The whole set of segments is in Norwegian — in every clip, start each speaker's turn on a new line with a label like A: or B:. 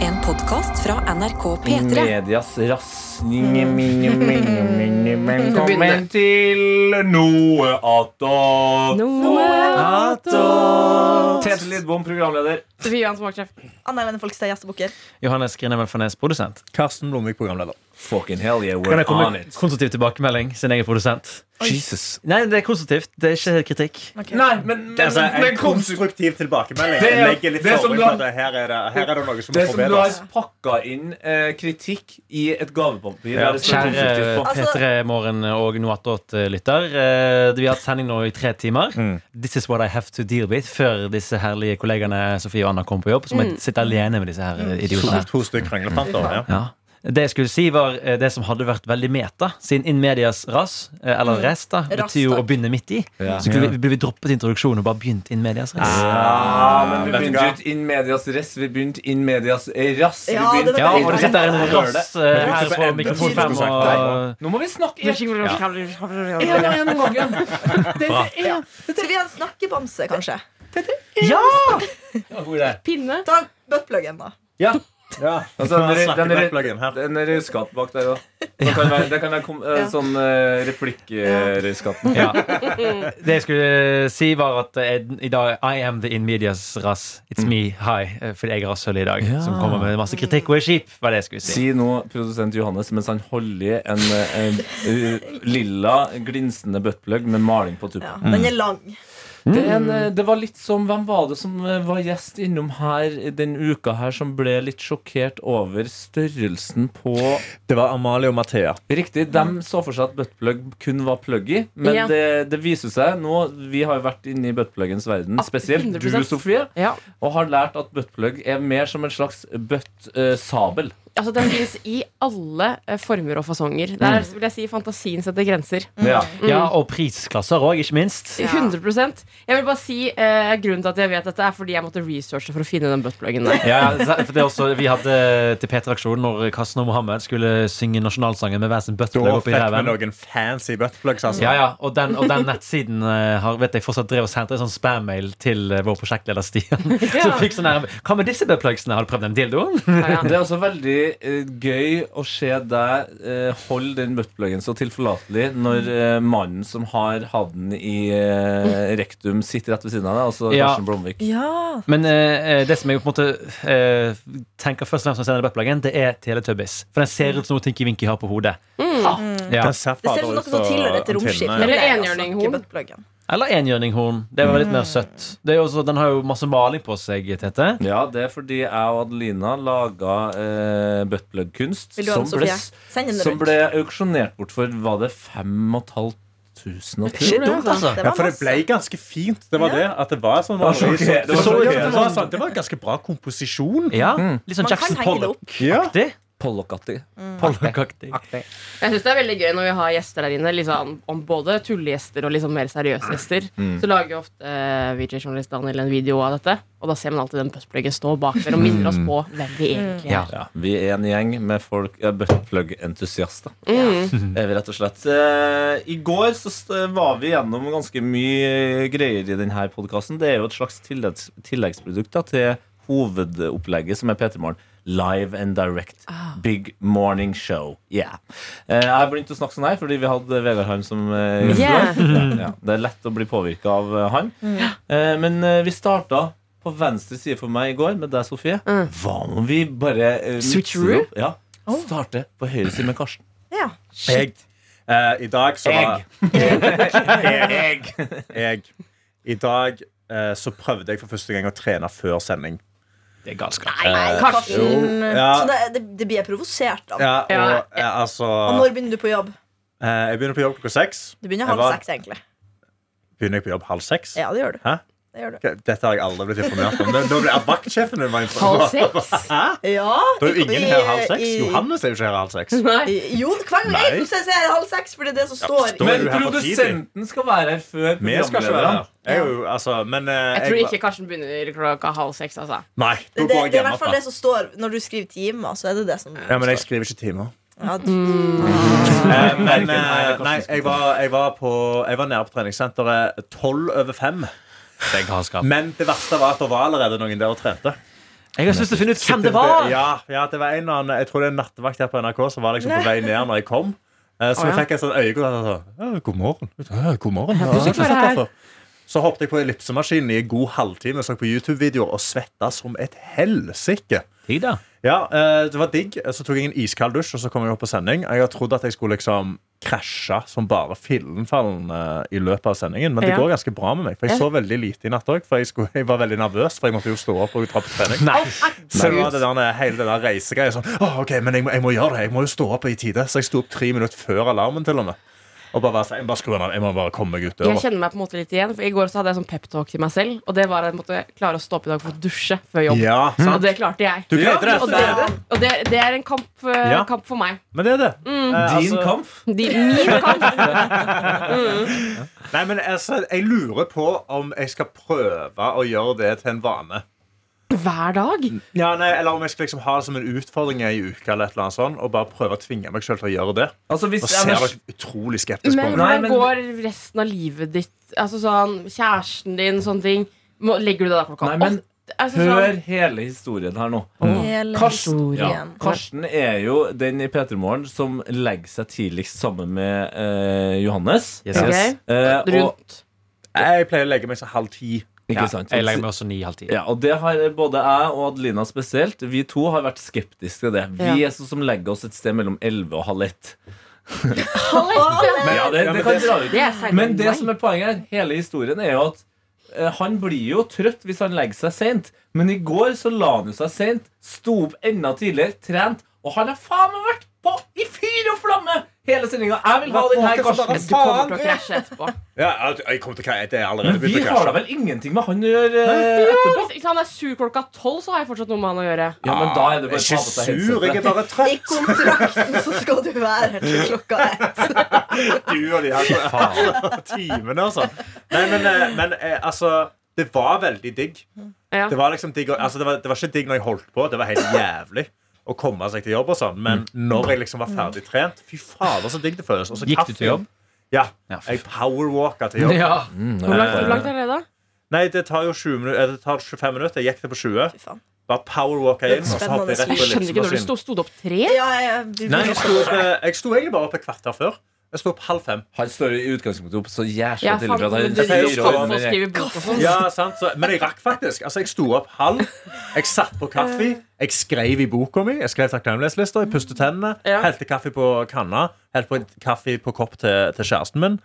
A: En podkast fra NRK P3.
B: Medias rass Velkommen til noe attåt. Tete Lidbom, programleder.
C: Vian Smaksjef.
D: Anna Helene Folkestad, jazzbukker.
E: Johannes Grinevel Fornes, produsent.
F: Karsten Blomvik, programleder.
B: Fucking hell yeah,
E: Kan
B: we're
E: jeg komme
B: on
E: med
B: it.
E: konstruktiv tilbakemelding, siden jeg er produsent?
B: Jesus.
E: Nei, det er konstruktivt. Det er ikke kritikk.
B: Nei, men, men,
F: Altså, en
B: men konst-
F: konstruktiv tilbakemelding.
B: Det er-
F: Jeg legger litt
B: det er som
F: forbruk
B: du har-
F: på at her er det, her er det noe som må
B: det er som du har
F: forbedres.
B: pakka inn eh, kritikk i et gavepapir. der det står
E: Kjære
B: konstruktivt på.
D: Altså-
E: P3 Morgen og Noatot-lytter. Eh, Vi har hatt sending nå i tre timer.
B: Mm.
E: This is what I have to deal with før disse herlige kollegaene Sofie og Anna kom på jobb. Så må jeg sitte alene med disse her eh, idiotene.
F: To, to stykker krangletanter. Ja.
E: Ja. Det jeg skulle si var eh, det som hadde vært veldig meta, siden in medias ras, eh, eller rest, da, betyr jo
D: Ras,
E: å begynne midt i. Så kunne vi, ble vi droppet introduksjonen og bare begynt in medias ras.
B: Ja, men vi
F: Vet du
B: begynte
F: hva?
B: ut in medias rest, vi begynte in medias rass. vi
D: Ja, det-
B: begynte-
E: Ja, og du sitter her inne
B: Hører
E: med
B: det.
E: ras eh,
F: Men
E: her på
F: hvorfor
E: mikrofon
F: ender du
E: 5
F: som
E: og
F: sagt
B: Nå må vi snakke
C: Ja. Ja.
B: en en gang igjen.
D: Skal vi ha en snakkebamse, kanskje?
E: Ja!
C: Pinne.
D: Ta buttpluggen, da.
B: Altså, den, re- den, re-
F: Snakkepluggen her.
B: den er røyskatt bak der òg. Det kan være, det kan være kom, eh,
D: Ja.
B: sånn uh, replikkrøyskatten.
E: ja. Det jeg skulle si, var at jeg, i dag I am the in medias ras. It's me, hi. eh, Fordi jeg er rasshøl i dag, som kommer med masse kritikk og er kjip. Var det jeg skulle si.
B: Si nå, produsent Johannes, mens han holder i en, eh, en eh, lilla, glinsende buttplug med maling på tuppen.
D: Ja. Den er lang.
B: Det, er en, eh, det var litt som Hvem var det som eh, var gjest innom her den uka her, som ble litt sjokkert over størrelsen på
F: Det var Amalie og Mathea.
B: Riktig. De så for seg at buttplug kun var plug i, men
C: Ja.
B: det, det viser seg nå Vi har jo vært inne i buttpluggens verden,
C: Ah,
B: spesielt du,
C: 100%.
B: Sofie,
C: Ja.
B: og har lært at buttplug er mer som en slags eh, bøtt-sabel.
C: Altså, den finnes i alle eh, former og fasonger. Der er, vil jeg si fantasien setter grenser.
B: ja.
E: Ja, og prisklasser òg, ikke minst.
C: 100 Jeg vil bare si eh, Grunnen til at jeg vet dette, er fordi jeg måtte researche for å finne den buttpluggen der.
E: Ja, for det er også, Vi hadde eh, til P3-aksjonen når Karsten og Mohammed skulle synge nasjonalsangen med hver sin
F: Da
E: buttplug
F: fikk vi
E: oppi ræven.
F: noen fancy buttplugs. Altså.
E: Ja, ja, og den, og den nettsiden eh, har vet jeg, fortsatt drev og sendte en sånn spam-mail til eh, vår prosjektleder Stian. Som fikk sånn her Hva med disse buttplugsene? Har du prøvd den dildoen?
C: Ja,
B: Det
C: ja.
B: er også veldig eh, gøy å se deg eh, holde den buttpluggen så tilforlatelig når eh, mannen som har hatt den i eh, rektum, sitter rett ved siden av deg, altså
E: Ja.
B: Karsten Blomvik.
D: Ja.
E: Men eh, eh, det som jeg på en måte eh, tenker først og fremst når jeg ser den buttpluggen, det er Teletubbies. For den ser ut som noe Tinky Winky har på hodet.
D: Mm.
E: Ja.
F: Den ser
D: Det ser ut
F: fader
D: som
F: ut
D: noe som tilhører et romskip.
F: antenne.
D: men det er
C: Eller
D: altså
C: enhjørninghorn.
D: ikke buttpluggen.
E: Eller enhjørninghorn. Det var litt mer
D: Mm.
E: søtt. Det er jo også, den har jo masse maling på seg, Tete.
B: Ja, det er fordi jeg og Adelina laga eh, buttplug-kunst
D: Vil du ha
B: som
D: den,
B: ble
D: Sofie? Send den
B: Som
D: rundt.
B: ble auksjonert bort for Var det 5500
E: Ikke
B: kroner?
E: dumt, altså.
D: Det
F: Ja,
D: var
F: for det ble
D: masse.
F: ganske fint. Det var det. At det var sånn
B: var sjokkert.
F: det
B: Det var
F: var, så-
B: sjokkert.
F: det var, sånn, det var en ganske bra komposisjon.
E: Ja, Litt sånn
D: Man kan
E: Jackson
D: henge det
E: Pollock.
D: opp. Mm.
F: Ja.
B: Pollokatti.
E: Pollokaktig.
C: Jeg synes Det er veldig gøy når vi har gjester der inne, liksom, om både tullegjester og liksom mer seriøse gjester. Så lager jo ofte eh, VJ-journalist Daniel en video av dette. Og da ser man alltid den buttpluggen stå bak der og minner oss på hvem vi egentlig er.
E: Ja.
B: Ja, vi er en gjeng med folk ja, buttplug-entusiaster. Eh, Rett og slett. Eh, I går så st- var vi gjennom ganske mye greier i denne podkasten. Det er jo et slags tilleggs tilleggsprodukt da, til hovedopplegget som er P3 Morgen. Live and direct. Big morning show. Yeah. Eh, Jeg har begynt å snakke sånn her fordi vi hadde Vegard Harm som eh, gjest i
C: Yeah.
B: går. ja, ja. Det er lett å bli påvirka av eh, han. Eh, Men eh, vi starta på venstre side for meg i går med deg, Sofie. Hva om vi bare eh, mikser
C: Switcheroo?
B: opp? Ja. Starte på høyre side med Karsten.
D: Ja.
F: Jeg, eh, I dag så var Jeg. jeg. I dag eh, så prøvde jeg for første gang å trene før sending.
E: Det er galskap.
D: Nei, Karsten.
F: Ja.
D: Så det, det, det blir jeg provosert av.
F: Ja, og
C: Ja.
F: eh, altså
D: Og når begynner du på jobb?
F: eh, Jeg begynner på jobb klokka seks.
D: Du begynner
F: Jeg
D: halv
F: var-
D: seks, egentlig.
F: Begynner jeg på jobb halv seks?
D: Ja, det gjør du.
F: Hæ?
D: Det gjør du.
F: Ok, Dette har jeg aldri blitt informert om. Nå ble jeg vaktsjefen din. var
C: Halv
F: informert.
C: seks?
D: Ja,
F: Da er jo ingen her halv seks.
D: i-
F: Johannes er jo ikke her halv seks.
C: Nei.
D: i- Jo, hver gang
F: Nei.
D: jeg sier jeg halv seks, fordi det er det som står.
F: står- Da er
B: Men
F: du her for tidlig.
B: produsenten skal være her før
F: Vi skal ikke være
B: programlederen.
F: her. Jeg er jo, altså, men, eh,
C: Jeg tror ikke Karsten begynner klokka halv seks. altså
F: Nei, da går jeg
D: Det, det, det er i hvert
F: hjemmefra.
D: fall det som står når du skriver timer. Så er det det som
F: Ja, men jeg skriver ikke timer.
D: Ja, du-
F: Eh,
B: Verken
F: Men
B: jeg eller
F: eh,
B: Karsten
F: nei,
B: skal
F: jeg var, jeg var, på, jeg var nede på treningssenteret tolv over fem.
E: Det er galskap.
F: Men det verste var at det var allerede noen der og trente.
E: Jeg har lyst til å finne ut hvem det var!
F: Ja, ja, det var en eller annen Jeg tror det er en nattevakt her på NRK som var liksom på vei ned når jeg kom. Eh, Så
C: Å,
F: jeg
C: ja.
F: fikk en sånn øyekontakt. og så, «Å, God morgen. «Å, God morgen. «Ja,
C: du
F: jeg har
C: sitter
F: ikke
C: her.
F: sett deg før.» Så hoppet jeg på ellipsemaskinen i en god halvtime så på YouTube-videoer og svetta som et helsike.
E: Digg, da.
F: Ja, eh, det var digg. Så tok jeg en iskald dusj, og så kom jeg opp på sending. Jeg har trodd at jeg skulle liksom krasje som bare fillenfallen eh, i løpet av sendingen, men det
C: Ja.
F: går ganske bra med meg. For jeg så veldig lite i natt òg, for jeg, skulle, jeg var veldig nervøs, for jeg måtte jo stå opp og dra på trening.
E: Nei.
F: Så det var det der, hele det der reisegreia sånn Å, OK, men jeg må, jeg må gjøre det. Jeg må jo stå opp i tide. Så jeg sto opp tre minutter før alarmen, til og med. Og bare, var sånn, jeg, bare skru den av. jeg må bare komme meg ut
C: Jeg
F: døra.
C: kjenner meg på en måte litt igjen. For I går så hadde jeg sånn peptalk til meg selv. Og det var at jeg måtte klare å stå opp i dag for å dusje før jobb.
F: Ja, sant?
C: Og det klarte jeg.
F: Du greide det.
C: Og det, og det, det er en kamp, eh,
F: Ja.
C: kamp for meg.
F: Men det er det.
C: Mm.
B: Din
F: Eh, altså-
B: kamp?
C: De, min kamp.
F: Nei, men altså, jeg lurer på om jeg skal prøve å gjøre det til en vane.
C: Hver dag.
F: Ja, nei, Eller om jeg skal liksom ha det som en utfordring i en uke eller et eller annet sånt, og bare prøve å tvinge meg selv til å gjøre det.
B: Altså, hvis
F: Og
B: jeg
F: ser
B: var-
F: dere utrolig skeptisk på
C: Men
B: Nei,
F: meg.
C: hvordan
B: men-
C: går resten av livet ditt? Altså sånn, Kjæresten din, sånne ting. Må, legger du deg da klokka
B: Nei, men
C: åtte? Altså,
B: Hør
C: sånn,
B: hele historien her nå.
C: Mm.
D: Hele
B: Karsten, ja.
D: historien.
B: Karsten er jo den i P3 Morgen som legger seg tidligst sammen med eh, Johannes.
E: Yes,
C: ok,
E: yes.
B: Eh, og,
C: Rundt
F: Jeg pleier å legge meg sånn halv ti.
B: ikke
E: Ja,
B: sant?
E: jeg legger meg også ni i halv ti.
B: Ja, og det har både jeg og Adelina spesielt Vi to har vært skeptiske til det Vi
C: Ja.
B: er sånn som legger oss et sted mellom 11 og halv 1
C: Halv ett!
B: Ja, det,
F: Ja, men
B: det kan
F: det-
B: dra ut
C: Det er seinere
B: Men
C: enn
B: det
C: meg.
B: som er poenget her, hele historien er jo at eh, han blir jo trøtt hvis han legger seg sent Men i går så la han jo seg sent Sto opp enda tidligere, trent Og han har faen meg vært på i fyr og flamme Hele sendingen Jeg vil ha den her, Karsten
C: Du kommer til å krasje etterpå.
F: Ja, jeg kommer til å krasje. Det er allerede
B: Men vi
F: begynt å
B: har da
F: krasje.
B: vel ingenting med han å gjøre eh, etterpå
C: Hvis ikke han er sur klokka tolv, så har jeg fortsatt noe med han å gjøre.
B: Ja, men da er det bare
F: Jeg
B: å ta
F: er ikke
B: på seg
F: sur, jeg er
B: headsetet
F: bare
D: I
F: trøtt.
D: kontrakten så skal du være her til klokka ett.
F: Du og de her timene, altså. Nei, men, eh, men eh, altså Det var veldig digg.
C: Ja.
F: Det var liksom digg å- altså det, var, det var ikke digg når jeg holdt på. Det var helt jævlig å komme seg til jobb. og sånn Men når jeg liksom var ferdig trent Fy fader, så digg det føles. Og så
E: Mm. Gikk du til
F: kaffen.
E: jobb?
F: Ja.
E: Ja, fy
F: Jeg powerwalka til jobb.
E: Ja.
C: Hvor langt, hvor langt er det, da?
F: Nei, det tar jo 20 minu- eh, det tar 25 minutter. Jeg gikk det på 20.
D: Fy faen.
F: Bare powerwalka inn. Og så hoppet jeg
C: Jeg skjønner
F: rett på
C: ikke når du
F: ellipsemaskinen.
C: sto, sto det opp tre?
D: Ja, jeg, du,
F: Nei, jeg sto opp, eh, Jeg sto egentlig bare opp et kvarter før. Jeg sto opp halv fem.
B: Han står i utgangspunktet opp så jævla
C: Ja,
B: tidlig for at
C: faen,
B: han
C: du
B: er
F: sier
B: fire
F: jo
B: år
C: driver
F: faen
C: og
B: under
C: skriver bok og sånn.
F: Ja, sant, så, Men jeg rakk faktisk. Altså, Jeg sto opp halv. Jeg satt på kaffe. Jeg skrev i boka mi. Jeg skrev takknemlighetslister. Jeg pustet tennene.
C: Ja.
F: Helte kaffe på kanna. Helte på en kaffe på kopp til, til kjæresten min.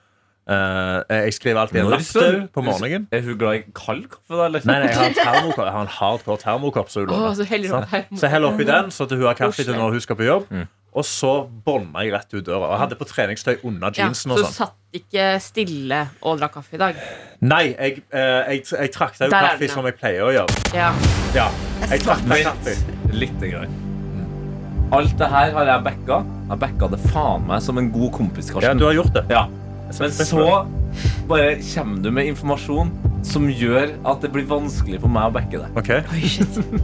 F: Eh, jeg skriver alltid en
B: Når
F: latter
B: så-
F: på morgenen.
B: Er hun glad i kald kaffe, da? Eller?
F: Nei, nei, jeg har en termokopp. Jeg har en hardcore termokopp. Så hun
C: Å,
F: låner.
C: så heller opp her.
F: Så jeg heller oppi den, så at hun har kaffe til når hun skal på jobb. Og så bånda jeg rett ut døra. Og jeg hadde på treningstøy under
C: Ja, så
F: jeansen. og
C: du
F: sånn
C: satt ikke stille og drakk kaffe i dag?
F: Nei, jeg, eh, jeg, jeg trakk deg jo
C: Der er den,
F: kaffe
C: ja.
F: som jeg pleier å gjøre.
C: Ja.
F: Ja, jeg trakk deg kaffe.
B: Vent lite grann. Mm. Alt det her har jeg backa. Jeg backa det faen meg som en god kompis,
F: Ja,
B: Karsten.
F: du har gjort det.
B: Ja. Men så bare kommer du med informasjon som gjør at det blir vanskelig for meg å backe deg.
F: Ok.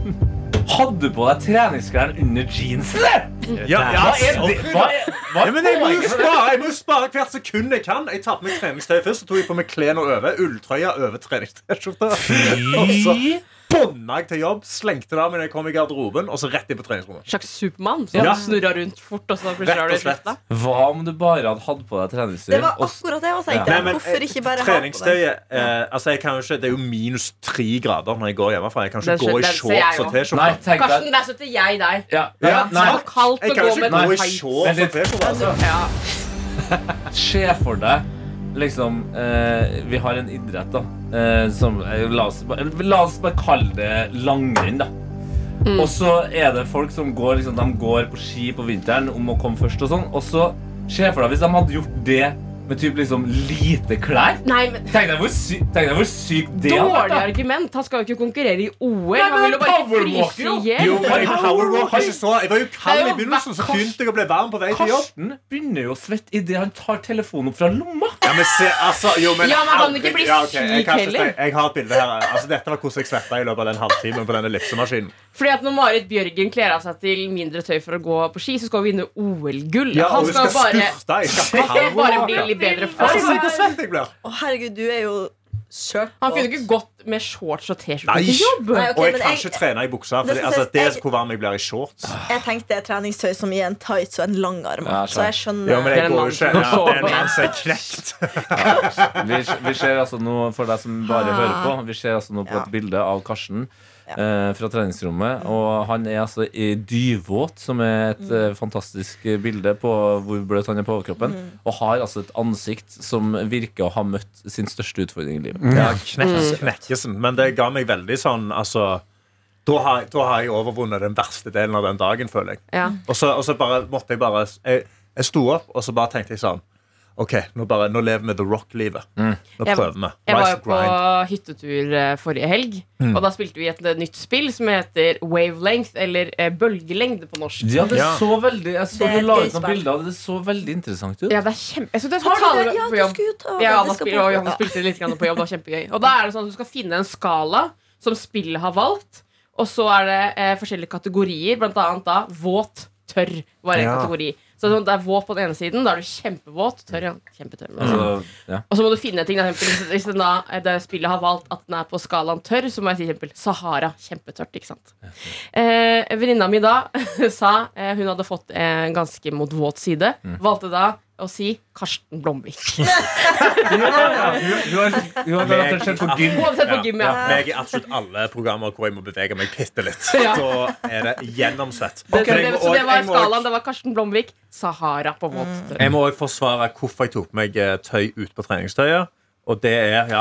B: Hadde du på deg treningsklærne under jeansene?!
F: Ja, ja,
B: Hva er det? Hva er, hva
F: Ja, men jeg må jo spare, jeg må jo spare hvert sekund jeg kan. Jeg tar på meg treningstøy først, så tok jeg på meg klærne over. Ulltrøya over treningstøyskjorta. Og så bånda jeg til jobb, slengte det av meg når jeg kom i garderoben, og så rett inn på treningsrommet.
C: Slags Supermann som
F: Ja.
C: snurra rundt fort, og så plutselig
F: Rett
C: har
F: og
C: du
F: slett.
C: slutta?
B: Hva om du bare hadde hatt på deg treningstøy?
D: det var
B: og s-
D: akkurat det jeg også
B: Ja.
D: tenkte.
F: Nei, men,
D: Hvorfor ikke bare ha på det?
F: Treningstøyet eh, altså jeg kan jo ikke, Det er jo minus tre grader når jeg går hjemmefra. Jeg kan
C: Den
F: ikke gå
C: skjø-
F: i
C: den ser
F: shorts
C: jeg
F: og
C: jo.
B: Nei,
F: T-skjorte.
B: tenk deg
C: Karsten, der støtter jeg deg.
B: ja, ja,
F: Ja,
B: nei,
C: Det var kaldt
F: Jeg
C: å
F: kan
C: gå
F: ikke
C: med
F: gå i
C: tights.
F: shorts og T-skjorte. altså.
C: Ja.
B: Se for deg liksom, eh, Vi har en idrett da eh, som, eh, la, oss, bare- la oss bare kalle det langrenn da Og så er det folk som går, liksom, de går på ski på vinteren Om å komme først og sånn Og så se for deg hvis de hadde gjort det Med typ liksom lite klær
C: Nei, men
B: Tenk deg hvor, sy tenk deg hvor sykt det hadde vært
C: dårlig
B: da.
C: argument. Han skal jo ikke konkurrere i OL.
B: Nei, men
C: Han vil jo bare
B: han powerwalker
C: fryse
B: jo.
C: i
F: Jo,
C: hjel.
F: men jeg powerwalk ikke så Jeg var jo
C: Det er
F: kald i
C: jo
F: begynnelsen, så begynte jeg å bli varm på vei til jobb.
B: Karsten begynner jo å svette i det han tar telefonen opp fra lomma
F: Ja, men se, altså, jo, men,
C: Ja, men han kan ikke bli
F: Ja, ok, jeg kan
C: syk
F: ikke-
C: heller.
F: Jeg har et bilde her. Altså, dette var hvordan jeg svetta i løpet av den halvtimen på denne ellipsemaskinen.
C: Fordi at når Marit Bjørgen kler av seg til mindre tøy for å gå på ski, så skal hun vinne OL-gull.
F: Ja, og
C: han
F: jeg
C: skal
F: skal
C: jo bare
F: styrte. Jeg skal
C: bare bli
F: powerwalke.
C: litt bedre
F: Altså, se
C: form.
F: hvor svett jeg blir.
D: Å, herregud, du er jo Søk
C: Han kunne
D: båt.
C: ikke gått med shorts og T-skjorte
F: Nei.
C: til jobb.
D: Nei, ok,
F: og jeg
D: men
F: kan
D: jeg-
F: ikke trene i buksa. For
D: Det
F: det,
D: synes
F: altså,
D: jeg-
F: det
D: jeg-
F: er hvor varm jeg blir i shorts.
D: Jeg tenkte treningstøy som gir en tights og en lang arm.
B: Ja, jeg
D: så jeg skjønner
F: Ja, men
C: Det er
F: jeg
C: en
F: går
C: mann
F: jo ikke
C: som
F: ja,
C: sover.
F: En mann som er knekt.
B: Vi, vi ser altså nå, for deg som bare hører på, vi ser altså nå på
D: Ja.
B: et bilde av Karsten eh, fra treningsrommet. Og han er altså i dyvåt, som er et
D: Mm.
B: eh, fantastisk eh, bilde på hvor bløt han er på overkroppen.
D: Mm.
B: Og har altså et ansikt som virker å ha møtt sin største utfordring i livet.
F: Ja, knekt, knekkesen. Men det ga meg veldig sånn altså, da, har, jeg- da har jeg overvunnet den verste delen av den dagen, føler jeg.
C: Ja.
F: Og så, og så bare, måtte jeg bare jeg, jeg sto opp, og så bare tenkte jeg sånn OK, nå, bare, nå lever vi The Rock-livet.
B: Mm.
F: Nå
C: Jeg-
F: prøver vi.
C: Jeg var
F: Rise Mm.
C: jo på hyttetur eh, forrige helg, og da spilte vi et eh, nytt spill som heter wavelength, eller eh, bølgelengde på norsk.
B: Ja, det
F: Ja.
B: så veldig Jeg så
D: Det er
B: du la
D: et
B: ut noen
D: gøy spill.
B: bilder av det. Det så veldig interessant ut.
C: Ja, det er kjempe... Jeg skulle ta
D: Har du
C: tale
D: det? Ja,
C: på
D: du
C: jobb.
D: skulle jo ta det.
C: Ja,
D: Det
C: Anna
D: skal
C: spil,
D: på-
C: og Johanne
D: Ja.
C: spilte litt grann på jobb. Det var kjempegøy. Og da er det sånn at du skal finne en skala som spillet har valgt, og så er det eh, forskjellige kategorier, blant annet da våt, tørr var en
F: Ja.
C: kategori. Så det er våt på den ene siden, da er du kjempevåt, tørr, ja, kjempetørr.
B: Altså, ja.
C: Og så må du finne en ting, da, for eksempel, hvis den da, eh, det spillet har valgt at den er på skalaen tørr, så må jeg si for eksempel Sahara, kjempetørt, ikke sant. Eh, Venninna mi da sa eh, hun hadde fått en ganske mot våt side,
B: Mm.
C: valgte da å si Karsten Blomvik.
B: Hun har, hun har
F: Meg-
B: garantert sett på gym.
C: Hun hadde sett på gym, ja.
F: Ja, meg i absolutt alle programmer hvor jeg må bevege meg bitte litt.
C: Ja.
F: Da er det gjennomsett.
C: Det,
F: Men jeg
C: det,
F: må
C: så det var
F: også- jeg må også-
C: skalaen. Det var Karsten Blomvik, Sahara på
D: Mm.
C: våt.
F: Jeg må også forsvare hvorfor jeg tok på meg eh, tøy ut på treningstøyet. Og det er ja.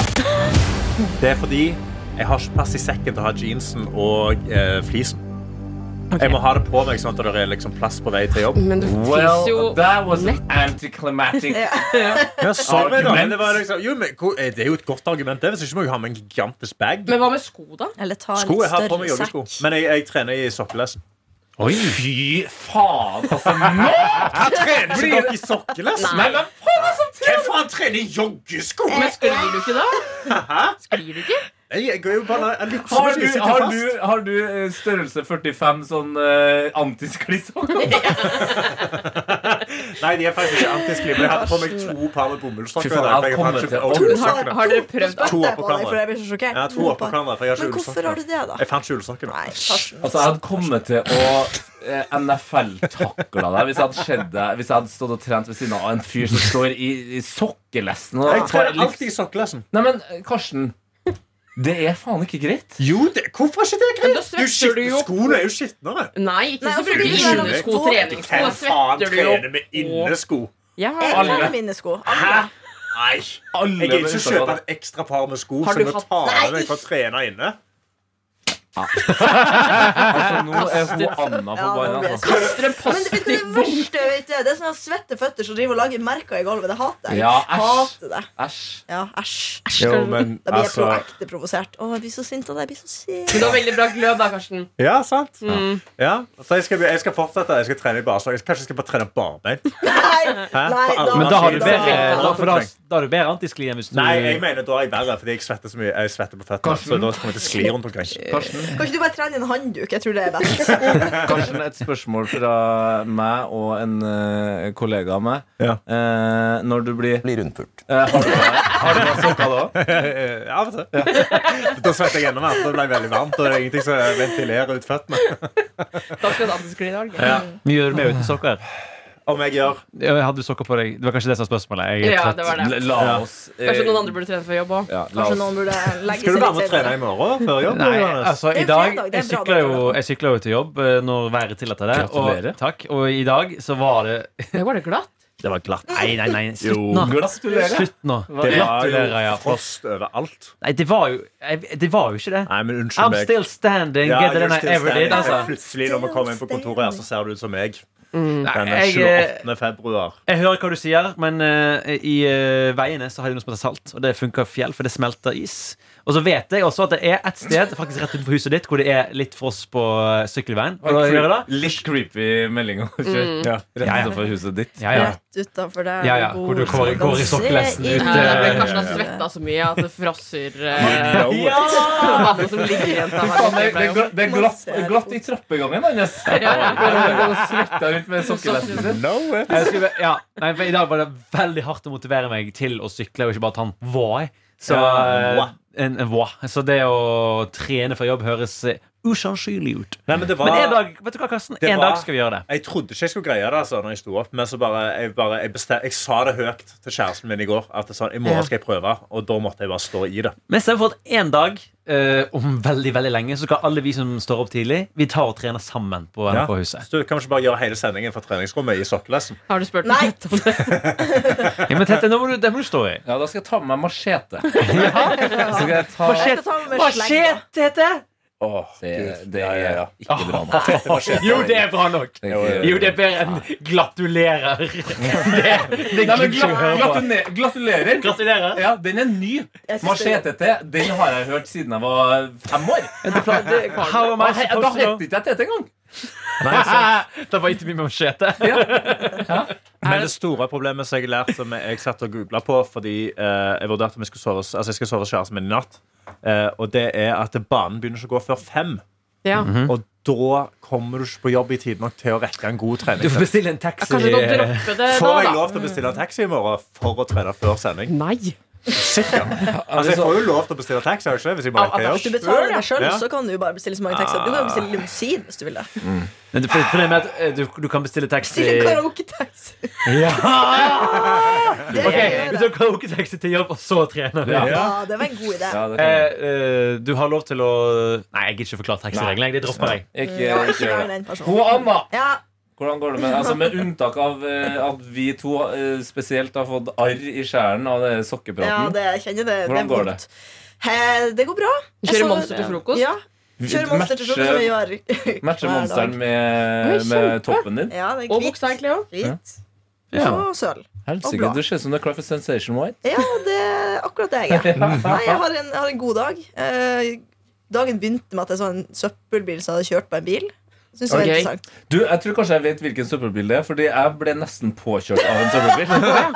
F: Det er fordi jeg har ikke plass i sekken til å ha jeansen og eh, flisen. Jeg må ha det på meg sånn at det er liksom plass på vei til jobb.
C: Men det fins jo
B: Well, that was
C: nett.
B: an anticlimactic
F: Ja, sorry, da.
B: Argument.
F: Men det, var liksom, jo, men, hvor- eh, det er jo et godt argument. Det, hvis ikke må jeg ha med en gigantisk bag.
C: Men hva med sko, da?
D: Eller ta en
F: Sko,
D: litt
F: jeg har på meg
D: større sekk.
F: joggesko. Men jeg, jeg trener i sokkelesten.
E: Oi.
B: Fy faen, altså. Nå
F: Trener ikke dere i sokkelesten?
B: Nei, men
F: Hvem faen trener i joggesko?
C: Men sklir du ikke da? Sklir du ikke?
F: Jeg, jeg går jo bare jeg er litt
B: Har
F: jeg
B: du,
F: sitter
B: har,
F: fast.
B: du, har du eh, størrelse 45 sånn uh, antiskliss?
F: Nei, de er faktisk ikke antisklibb. Jeg hadde på meg to par med bomullssokker.
B: Fy faen,
F: i dag, for jeg
B: jeg
F: hadde
B: kommer
F: ikke-
B: til å-
F: og ullsokkene.
C: Har dere prøvd
D: Nå
F: To opp på
D: spytter jeg på deg,
F: kameraet.
D: for jeg blir så sjokkert.
F: Jeg har to opp på kamera, for jeg har ikke
D: Men hvorfor
F: ullsokkene.
D: har du det, da?
F: sånn. Jeg fant ikke ullsokkene.
D: Nei, Karsten.
B: Altså, jeg hadde kommet til å eh, NFL-takla deg hvis jeg hadde skjedd deg Hvis jeg hadde stått og trent ved siden av en fyr som står i, i sokkelesten. Og
F: Jeg tar
B: tar litt-
F: alltid i sokkelesten.
B: Nei, men eh, Karsten. Det er faen ikke greit.
F: Jo, det, hvorfor er ikke det
C: Men da
F: greit? Du
C: svetter du
F: skitne-
C: jo.
F: Skoene er jo skitnere.
C: Nei, ikke hvis du
D: Nei, altså,
C: bruker
D: det
F: er jo-
C: innesko, treningssko.
F: Hvem
C: Da
F: faen
C: svetter du jo.
F: trener med innesko?
C: Ja.
D: Jeg
B: Alle.
D: trener med innesko.
F: Hæ?
B: Alle
F: Nei. Jeg
B: med
F: gidder ikke
B: unntak av
F: kjøpe
B: deg.
F: et ekstra par med sko
C: Har
F: som
C: du
F: jeg
C: hatt-
F: tar
D: Nei.
F: med meg for å trene inne.
B: altså, Nå er hun Anna på
D: Ja, nå
B: beina.
D: blir jeg
B: altså.
C: Kaster en
D: Men det, vet du, det
C: post-it-bok.
D: verste jeg vet, det er sånne svette føtter som driver og lager merker i gulvet. Det hater jeg.
B: Ja, æsj.
D: hater det.
B: Æsj.
D: Ja, æsj.
F: Jo, men
D: Da blir
E: Altså-
D: jeg pro ekte provosert. Å, jeg blir så sint av deg. Jeg blir så sint.
C: Men du har veldig bra glød da, Karsten.
F: Ja, sant.
D: Mm.
F: Ja. Så jeg skal, jeg skal fortsette. Jeg skal trene i barsokker. Kanskje jeg skal bare trene barbein.
D: Nei, nei,
F: For alle-
E: Men da har du
D: da-
E: bedre,
D: da-
E: da, for da, da har du bedre antiskli enn hvis du
F: Nei, jeg mener da er jeg verre, fordi jeg svetter så mye. Jeg svetter på føttene. Så da kommer jeg til å skli rundt omkring.
B: Karsten,
D: Kan ikke du bare trene i en handduk? Jeg tror det er best.
B: Karsten, et spørsmål fra meg og en eh, kollega av meg.
F: Ja.
B: Eh, når du blir
G: Blir rundpult.
B: Eh, Har du har du da sokker da òg?
F: Eh, Av og til. Da svetter jeg enda mer. Da ble jeg veldig varmt. Og det er ingenting som ventilerer ut føttene.
C: Da skal du ha antiskli i dag.
E: Mye gjør du med uten sokker.
F: Om jeg gjør
E: Ja, Hadde du sokker på deg? Det var kanskje det som var spørsmålet. Jeg er
C: Ja,
E: trett.
C: det var det.
B: La oss eh,
C: Kanskje noen andre burde trene for jobb òg.
B: ja, la
D: Kanskje
B: oss.
D: noen burde legge
F: Skal du
D: seg
F: være
D: litt
F: med og trene i morgen før jobb?
E: Nei,
F: Johannes?
E: altså
D: Det er
E: i dag
D: fredag, det er
E: Jeg
D: bra
E: sykler jo,
D: dag, da.
E: jeg sykler jo til jobb eh, når været tillater det. Og,
B: Gratulerer.
E: takk, og i dag så var det
C: Var det glatt?
E: Det var glatt. Nei, nei, nei. Slutt
F: Jo.
E: nå.
B: Gratulerer.
E: Slutt nå.
F: det var
E: Gratulerer, ja.
F: jo frost overalt.
E: Nei, det var jo, jeg- det var jo ikke det.
F: Nei, men unnskyld
E: I'm
F: meg.
E: still standing,
F: Ja,
E: better than I
F: just
E: ever
F: standing.
E: did. Altså. Mm.
F: Plutselig når vi kommer inn på kontoret, her, så ser du ut som meg. Den
E: Nei, jeg, eh,
F: 28. februar.
E: jeg hører hva du sier, men eh, i eh, veiene så har de noe som heter salt, og det funker fjell, for det smelter is. Og så vet jeg også at det er et sted faktisk rett utenfor huset ditt hvor det er litt frost på eh, sykkelveien. Og da gjør jeg det?
B: Litt creepy melding å kjøre
F: Ja.
B: rett utenfor huset ditt.
E: Ja, ja.
D: Rett utenfor der
E: Ja, ja,
D: du bor,
E: hvor du
D: så
E: går-
D: kan
E: går i
D: se
E: sokkelesten
D: inn.
E: ut,
C: Ja, det
E: eh,
C: er fordi Karsten har svetta så mye at det frosser eh, vannet som ligger igjen. til han.
B: Det er, gla- det er glatt, glatt i trappegangen hans. Svetta rundt med sokkelesten sin.
F: No way.
E: Jeg skulle, ja. Nei, for I dag var det veldig hardt å motivere meg til å sykle, og ikke bare ta den Voi. Så,
F: Ja,
E: eh,
F: moi.
E: en, en, moi. så det å trene for jobb høres eh, usannsynlig ut.
F: Nei, men det var
E: Men en dag vet du hva, Karsten?
F: Det
E: En
F: var-
E: dag skal vi gjøre det.
F: Jeg trodde ikke jeg skulle greie det altså, når jeg sto opp, men så bare, jeg, bare, jeg, bestem, jeg sa det høyt til kjæresten min i går. At jeg sa, I morgen skal jeg prøve, og da måtte jeg bare stå i det.
E: Men stem for at en dag eh, om veldig veldig lenge så skal alle vi som står opp tidlig, vi tar og trener sammen på
F: Ja.
E: NRK-huset.
F: Så du kan ikke bare gjøre hele sendingen fra treningsrommet i sokkelesten.
C: Har du spurt
D: Nei.
C: Tete om det?
E: Ja. men Tete, nå må du, det må du stå i.
B: Ja, da skal jeg ta med meg machete. Så skal jeg ta
D: Jeg skal ta med
E: Hva
D: slegg,
E: skjer, Tete?
F: Åh,
B: Det,
F: Gud.
B: det
F: Ja, ja, ja.
B: er ikke bra. nok.
F: Dette var skjedd.
E: Jo, det er bra nok.
B: Det er
F: Jo,
B: ikke-
E: Jo, det er bedre enn gratulerer. Det, det
B: Nei, men
E: gidder ikke å
B: gla-
E: høre på.
B: gratune- Gratulerer.
E: Gratulerer.
B: Ja, den er ny.
D: Jeg synes det-
B: Machete-T, den har jeg hørt siden jeg var fem år.
E: How am I
B: Og he- Da
E: supposed to know?
B: het ikke jeg Tete engang.
E: Det var ikke min machete.
F: Men det store problemet som jeg lærte Som jeg satt og googlet på Fordi eh, jeg vurderte om jeg skulle sove Altså jeg skal sove hos kjæresten min i natt eh, Og det er at banen begynner ikke å gå før fem
C: Ja.
F: Og da kommer du ikke på jobb i tid nok Til å rekke en god
E: Du
F: trening
E: får bestille en taxi.
C: Kanskje du kan droppe det
F: Får jeg
C: da, da?
F: lov til å bestille en taxi i morgen For å trene før sending?
C: Nei.
F: Sikkert Altså jeg får jo lov til å bestille taxi har jeg ikke, Hvis jeg bare
C: Av-
F: rekker
C: av-
D: Hvis du
F: jobb
D: betaler deg sjøl,
F: Ja.
D: så kan du bare bestille så mange taxier. Du kan jo
C: Eh.
D: bestille limousin hvis du vil det.
E: Men det- for- for det med at eh, du, du kan bestille taxi
D: Bestille karaoketaxi. Det
E: Ok,
D: kan jeg
E: Du
D: gjøre.
E: tar karaoketaxi til jobb, og så trener du.
D: Ja, det var en god idé.
B: Ja, det
E: Eh,
B: kan jeg.
E: eh, du har lov til å Nei, jeg gidder ikke forklare taxireglene. jeg. Det dropper jeg.
B: Ikke,
D: Eh, Ja,
B: ikke
D: ikke
B: gjør det.
D: vær
B: Hun
D: den personen.
B: Anna,
D: Ja,
B: hvordan går det med Altså Med unntak av eh, at vi to eh, spesielt har fått arr i skjæren av det
D: ja
B: sokkepraten.
D: det, jeg kjenner det.
B: Hvordan
D: det
B: går
D: er vondt. He, det går bra.
C: Du
D: Jeg
C: kjører
D: så-
C: monster til frokost?
D: Ja, kjører monster til frokost som vi gjør
B: Matcher
D: hver dag.
B: monsteren med, med toppen din?
D: Ja, det er
C: Og
D: hvitt,
C: buksa egentlig òg.
D: hvitt
B: Ja.
D: og søl.
B: Helsike,
D: bra.
B: du ser ut som du er klar for Sensation White.
D: Ja, det er akkurat det jeg er. Nei, jeg har en, jeg har en god dag. Eh, dagen begynte med at jeg så en søppelbil som hadde kjørt på en bil. Synes det var
C: Ok.
D: interessant
B: Du, Jeg tror kanskje jeg vet hvilken søppelbil det er, fordi jeg ble nesten påkjørt av en søppelbil.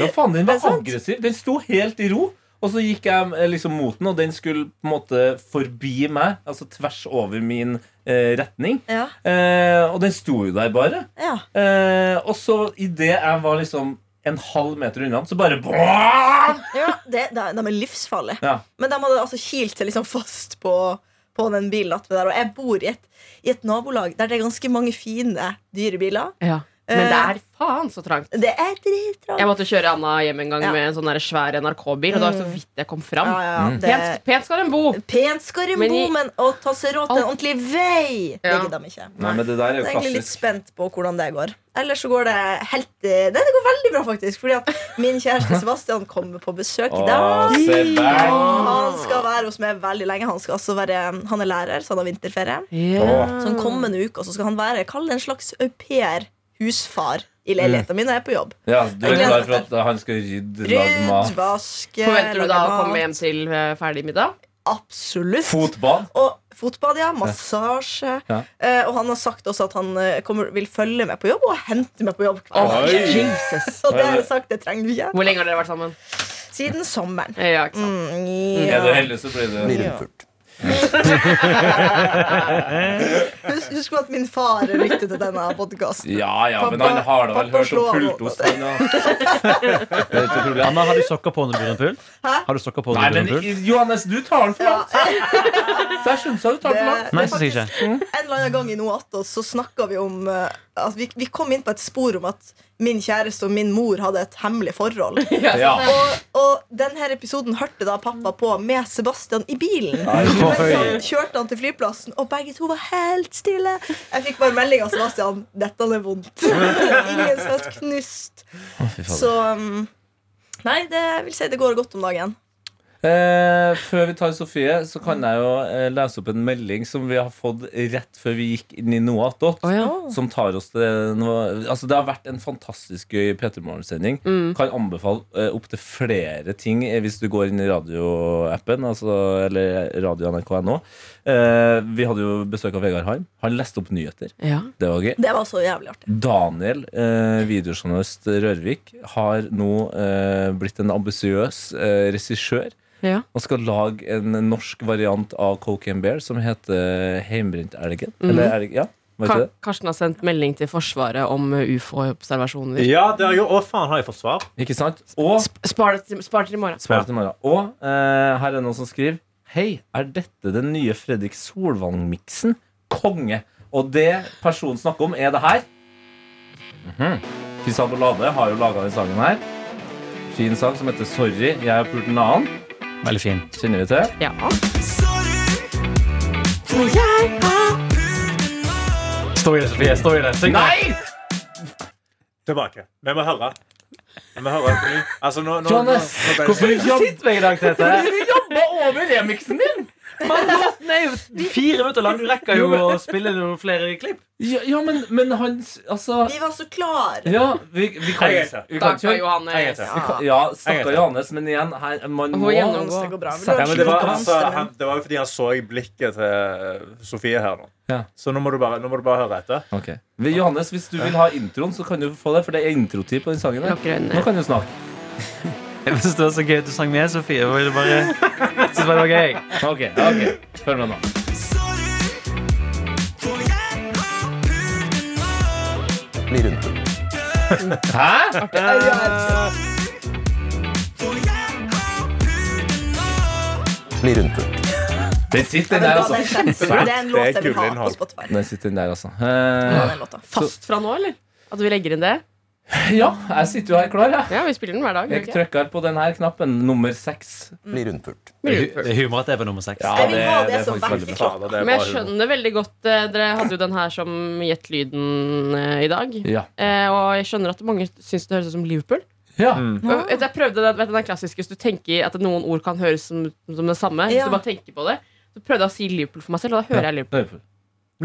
B: Ja, faen, Den
D: Er det
B: var
D: sant?
B: aggressiv. Den sto helt i ro. Og så gikk jeg eh, liksom mot den, og den skulle på en måte forbi meg. Altså tvers over min eh, retning.
D: Ja,
B: Eh, og den sto jo der bare.
D: ja.
B: Eh, og så idet jeg var liksom en halv meter unna, så bare Bra!
D: ja det, det, er- De er livsfarlige.
B: Ja.
D: Men de hadde altså kilt seg liksom fast på, på den bilen attmed der. Og jeg bor i et, i et nabolag der det er ganske mange fine, dyre biler.
C: Ja. Eh. Men det er faen så trangt.
D: Det er
C: Jeg
D: drittrangt.
C: måtte kjøre Anna hjem en gang
D: Ja.
C: med en sånn der svær NRK-bil, og det var så vidt jeg kom
D: Ja,
C: fram.
D: ja,
B: Mm.
D: ja. Det er
C: Pent, pent skal den bo!
D: pent skal de
C: Men
D: bo,
C: i-
D: men å ta seg råd til en ordentlig vei, det
C: Ja.
D: gidder de ikke.
B: Nei, men det der er
D: Jeg
B: jo
D: er egentlig litt
B: klassisk.
D: spent på hvordan det går. Ellers så går det helt eh, Nei, det går veldig bra, faktisk. Fordi at min kjæreste Sebastian kommer på besøk i dag.
B: Å, se der.
D: Han skal være hos meg veldig lenge. Han, skal altså være, han er lærer, så han har vinterferie.
B: Å,
D: Så den kommende uka så skal han være Kall det en slags au pair, husfar, i leiligheten min når jeg er på jobb.
B: Ja, du er
D: Jeg gleder
B: klar
D: meg
B: for at han skal rydde, lage
D: Rydd,
B: mat,
D: vaske
C: Forventer du da
D: lage
C: å
D: mat.
C: komme hjem til eh, ferdig middag?
D: Absolutt.
B: fotbad?
D: Og fotbad, ja. Massasje.
B: Ja.
D: Eh, og han har sagt også at han eh, kommer, vil følge meg på jobb og hente meg på jobb. hver dag.
C: Jesus.
D: Så det har jeg sagt, det trenger du ikke.
C: Hvor lenge har dere vært sammen?
D: Siden sommeren.
C: Eh, Ja, ikke sant?
D: Mm,
B: Er du
D: ja.
B: heldig, så blir det
D: Ja. Husk, husk på at min far lytter til denne podkasten.
B: Ja ja, men
D: Pappa-
B: han har da vel
D: pappa
B: hørt om
D: slår
B: pultost. han, ja. Det er ikke noe problem.
E: Anna, har du sokker på når du blir en pul?
D: Hæ?
E: Har du sokker på
B: Nei,
E: når du
B: men
E: blir en pul?
B: Johannes, du tar den for
D: Ja,
B: langt. Der syns jeg du tar den for langt.
E: Nei,
D: det er
E: synes jeg
D: faktisk- En eller annen gang i noe attåt så snakka vi om eh, at vi, vi kom inn på et spor om at min kjæreste og min mor hadde et hemmelig forhold.
B: Ja.
D: Og, og denne episoden hørte da pappa på med Sebastian i bilen. Men så kjørte han til flyplassen, og begge to var helt stille. Jeg fikk bare melding av Sebastian. Dette er vondt. Ingen som er knust. Så um, Nei, det, jeg vil si det går godt om dagen.
B: Eh, før vi tar Sofie, så kan jeg jo eh, lese opp en melding som vi har fått rett før vi gikk inn i noe.at. Som tar oss til noe Altså Det har vært en fantastisk gøy P3 Morgen-sending. Kan anbefale eh, opptil flere ting eh, hvis du går inn i radioappen, altså, eller radio nrk.no. Eh, vi hadde jo besøk av Vegard Harm. Han leste opp nyheter.
C: Ja.
B: Det var gøy.
D: Det var så jævlig artig.
B: Daniel, eh, videojournalist Rørvik, har nå eh, blitt en ambisiøs eh, regissør.
C: Ja.
B: Han skal lage en norsk variant av Coke and Bear som heter Heimbrent elgen. Eller elg, ja. Vet du
C: Kar
B: det?
C: Karsten har sendt melding til Forsvaret om eh, ufo-observasjoner.
F: Ja, det har jeg jo. Å, faen, har jeg fått svar?
B: Ikke sant? Og
C: Sp- Spar det til, spar det til i morgen.
B: Spar det til i morgen. Og eh, her er det noen som skriver Hei, er dette den nye Fredrik Solvang-miksen? Konge! Og det personen snakker om, er det her. Mhm. Kristian Bollade har jo laga den sangen her. Fin sang som heter 'Sorry, jeg har pult en annen'.
E: Veldig fin.
B: Kjenner vi til?
C: Ja.
E: Stå i det, Sofie. Stå i det. Syng det.
F: Tilbake. Vi må høre. Vi må høre på ny. Altså, nå, nå, nå,
B: Johannes,
F: nå ble jeg-
E: Hvorfor sitter vi i dag, Tete?
B: Jobba over remixen din!
E: Fire minutter lang. Du rekker jo å spille noen flere klipp.
B: Ja, ja men, men han Altså
D: Vi var så klar
B: Ja, vi, vi kan,
F: Jeg heter.
B: vi kan
C: Takk,
B: kjøre.
C: Johannes.
F: Jeg
B: Vi kan- Ja, stakkar
F: heter.
B: Johannes, men igjen, her, man
C: Hun
B: må
C: gjennomgår.
D: Det går bra. Vi
F: Ja,
D: lå
F: men det, var,
D: skikkelig
F: altså,
D: konstant.
F: han, det var jo fordi han så i blikket til eh, Sofie her nå.
B: Ja.
F: Så nå må, du bare, nå må du bare høre etter.
B: Ok Vi- Johannes, hvis du vil ha introen, så kan du få det, for det er introtid på den sangen. her.
C: Lukker øynene.
B: Nå kan du snakke.
E: Jeg synes det var så gøy at du sang med, Sofie. Jeg ville bare, jeg synes bare det var gøy.
B: Ok, ok, Følg med nå. Hæ?
G: Bli rundpult.
B: Den sitter den der,
D: Ja,
B: altså.
D: det er kjent. Det er en låt jeg vil ha på
F: gullinnhold.
D: Spotify.
B: Den sitter den der, altså.
D: Ja,
B: Eh,
D: den låta.
C: Fast fra nå, eller? At vi legger inn det?
B: ja, jeg sitter jo her klar, jeg.
C: Ja, vi spiller den hver dag.
B: Jeg
C: gjør vi ikke?
B: trykker på den her knappen, nummer seks.
G: Bli rundpult.
E: Det er hu- det er humor at det er på nummer seks.
D: Jeg vil ha det som
B: veldig bra.
F: Fader, det er
C: Men
F: bra
C: jeg
F: humor.
C: skjønner veldig godt eh, Dere hadde jo den her som Gjett lyden eh, i dag.
B: Ja.
C: Eh, og jeg skjønner at mange syns det høres ut som Liverpool.
B: ja.
E: Mm.
C: Og Jeg jeg prøvde den, vet, du, den er klassisk Hvis du tenker at noen ord kan høres som, som det samme,
D: Ja.
C: Hvis du bare tenker på det så prøvde jeg å si Liverpool for meg selv, og da hører jeg Liverpool.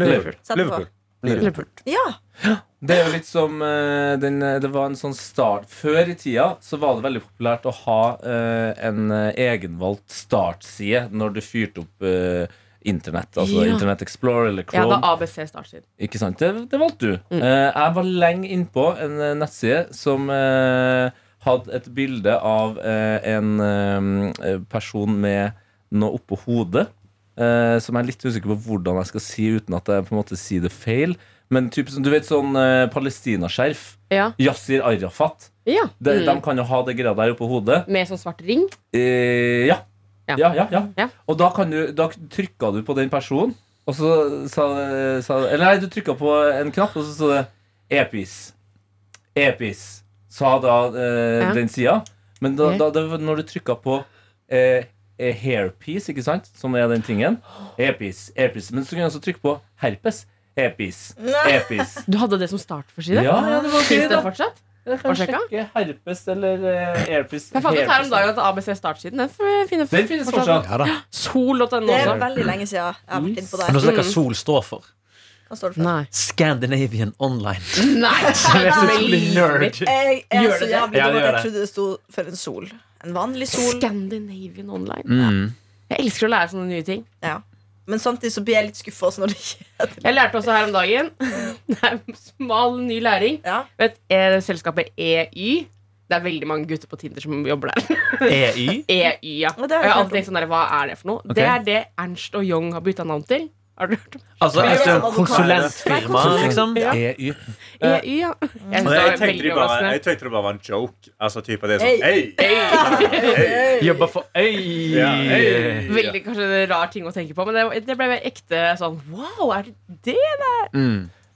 B: Liverpool.
F: Liverpool.
D: Sett på.
F: Liverpool.
G: Bli rundpult.
D: Ja,
B: Det er jo litt som eh, den, eh, Det var en sånn start Før i tida så var det veldig populært å ha eh, en eh, egenvalgt startside når du fyrte opp eh, internett. Altså
C: Ja.
B: Internett Explorer eller
C: Jeg
B: Chrome.
C: hadde ABC startsiden.
B: ikke sant? Det, det valgte du. Eh, jeg var lenge innpå en eh, nettside som eh, hadde et bilde av eh, en eh, person med noe oppå hodet. eh, som jeg er litt usikker på hvordan jeg skal si uten at jeg på en måte sier det feil. Men typ, som- du vet sånn eh, palestinaskjerf.
C: Ja.
B: Yasir Arafat.
C: Ja.
B: De,
C: Mm.
B: de kan jo ha det greia der oppå hodet.
C: Med sånn svart ring.
B: Eh, ja.
C: Ja.
B: Ja. Ja, ja,
C: Ja.
B: Og da, kan du, da trykka du på den personen, og så sa, sa Eller nei, du trykka på en knapp, og så sto det Epis. Epis, sa da eh,
C: Ja.
B: den sida. Men da,
C: Ja.
B: da, det var når du trykka på eh, eh, hairpiece, ikke sant, som er den tingen Epis, epis. Men så kunne du også trykke på herpes. Epis, epis.
C: Du hadde det som start for
B: Ja,
C: side?
B: ja, det var gøy,
C: Fins det
B: da.
C: fortsatt?
B: Jeg kan
C: Har du sjekka?
B: sjekke herpes eller eh, airpis.
C: Jeg fant ut her
B: hairpis.
C: om dagen at ABC startsiden Den finnes
B: Den finnes fortsatt.
E: Ja da.
C: Sol.no
D: det er
C: også.
D: veldig lenge siden jeg har vært inne på
E: Men
D: der.
E: også hva Sol står for.
D: Hva står det for?
C: Nei.
E: Scandinavian Online.
C: Nei.
E: Det er så utrolig nerd.
D: Jeg altså, er
C: Gjør det
D: så
C: det?
D: jævlig
E: Ja, det
D: dum at
E: gjør
D: jeg
E: det.
D: trodde det sto for en sol. En vanlig sol.
C: Scandinavian Online.
B: Mm.
C: Jeg elsker å lære sånne nye ting.
D: Ja. Men samtidig så blir jeg litt skuffa også når det ikke
C: Jeg lærte også her om dagen Det er en smal, ny læring.
D: ja.
C: Vet, eh, selskapet EY Det er veldig mange gutter på Tinder som jobber der.
E: EY.
C: EY, ja.
D: Ja,
C: Og
D: det har
C: jeg har
D: jeg hørt
C: alltid tenkt sånn der, Hva er det for noe? Det er det Ernst og Young har bytta navn til. Har du hørt om
E: Altså
D: Ja,
E: et
C: sånn
D: ja,
E: sånt konsulentfirma,
D: advokat.
E: liksom.
B: EY.
C: EY, ja. Jeg, synes det
F: Men
C: var
F: jeg tenkte,
C: veldig
F: de bare,
C: overraskende.
F: jeg tenkte det bare var en joke. Altså type det er
D: Hey.
F: sånn Hei!
E: Jobber for Øy.
F: Ja, øy.
C: Veldig kanskje en rar ting å tenke på, men det, det ble ekte sånn Wow, er det det?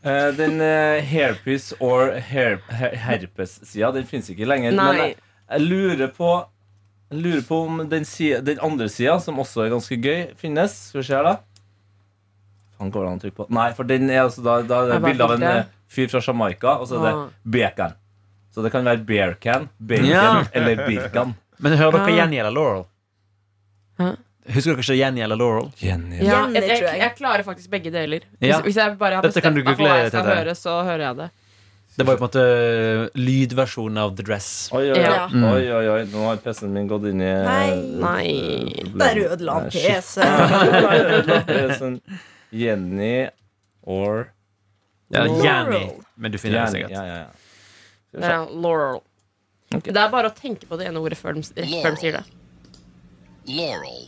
B: Eh, den eh, hairpiece or hair, her, herpes-sida, den finnes ikke lenger. Men
C: Nei.
B: jeg, jeg lurer på jeg lurer på om den, sida, den andre sida, som også er ganske gøy, finnes. Skal vi se her, da. Faen, går det an å trykke på Nei, for den er altså da, da er det
C: Jeg bare
B: bilde av en
C: fikk det.
B: eh, fyr fra Jamaica, og så er altså, det
C: Ah.
B: bacon. Så det kan være bearcan, bacon
E: Ja.
B: eller birkan.
E: Men hører dere
C: Ja.
E: Jenny eller Laurel?
C: Ah. Hæ?
E: Husker dere ikke Jenny eller Laurel?
B: Jenny.
C: Ja,
D: Jenny,
C: jeg, jeg,
D: tror jeg.
C: jeg klarer faktisk begge deler. Hvis,
E: Ja.
C: hvis jeg bare har
E: Dette kan
C: bestemt
E: du
C: meg for hva
E: google,
C: jeg skal
E: Tete.
C: høre, så hører jeg det.
E: Det var jo på en måte eh, lydversjonen av The Dress.
B: Oi, oi, oi.
C: Ja.
B: oi, oi, oi. Nå har PC-en min gått inn i eh,
D: Nei.
C: Nei.
D: Der ødela han
B: Nei, shit.
D: PC.
B: sånn Jenny or
E: Ja,
D: Laurel.
E: Jenny. Men du finner det
B: Jenny. Ja,
E: sikkert.
B: ja, ja.
C: Det er Eh, Laurel.
B: Ok.
C: Det er bare å tenke på det ene ordet før de, rett før de sier det.
H: Laurel.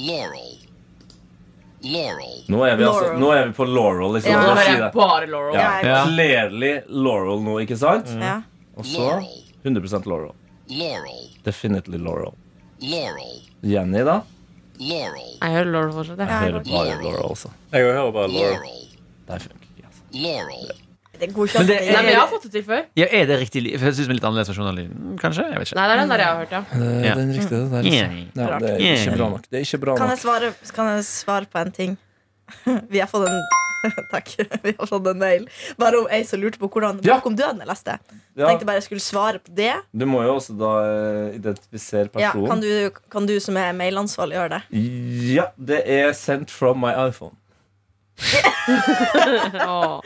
H: Laurel. Laurel.
B: Nå er vi, altså,
D: Laurel.
B: nå er vi på Laurel, liksom.
D: Ja,
C: Nå
B: La oss
C: hører
B: si
C: jeg
B: det.
C: bare Laurel.
B: Ja.
D: Ja,
E: Ja.
B: Clearly Laurel nå, ikke sant?
D: ja.
B: Og så
H: Laurel.
B: 100 Laurel.
H: Laurel.
B: Definitely Laurel.
H: Laurel.
B: Jenny, da?
H: Laurel.
C: Jeg hører Laurel fortsatt. jeg.
D: Ja,
B: Hører
D: godt.
B: bare Laurel, altså.
F: Jeg hører bare Laura.
H: Laurel.
B: Det funker ikke. altså.
H: Laurel.
D: Det går ikke
E: Men
D: an.
E: det-
D: Det
C: Nei, men jeg
D: er-
C: har fått det til før.
E: Ja, er det riktig lyd? For Jeg synes det er litt annerledes versjon av lyden. Kanskje? Jeg vet ikke.
C: Nei, det er den der jeg har hørt, ja.
B: Det
E: Ja.
B: er Eh, den riktige, det der. Liksom.
E: Ja.
B: Ja, det er ikke bra nok. Det er ikke bra
D: Kan
B: nok.
D: jeg, svare, kan jeg svare på en ting? Vi har fått en Takk. Vi har fått en mail. Bare om ei som lurte på hvordan
B: Ja.
D: Bok om døden jeg leste.
B: Ja,
D: Tenkte bare jeg skulle svare på det.
B: du må jo også da eh, identifisere
D: Ja, kan,
B: personen.
D: du, kan du som er mailansvarlig, gjøre det?
B: Ja, det er 'Sent from my iPhone'.
C: Åh.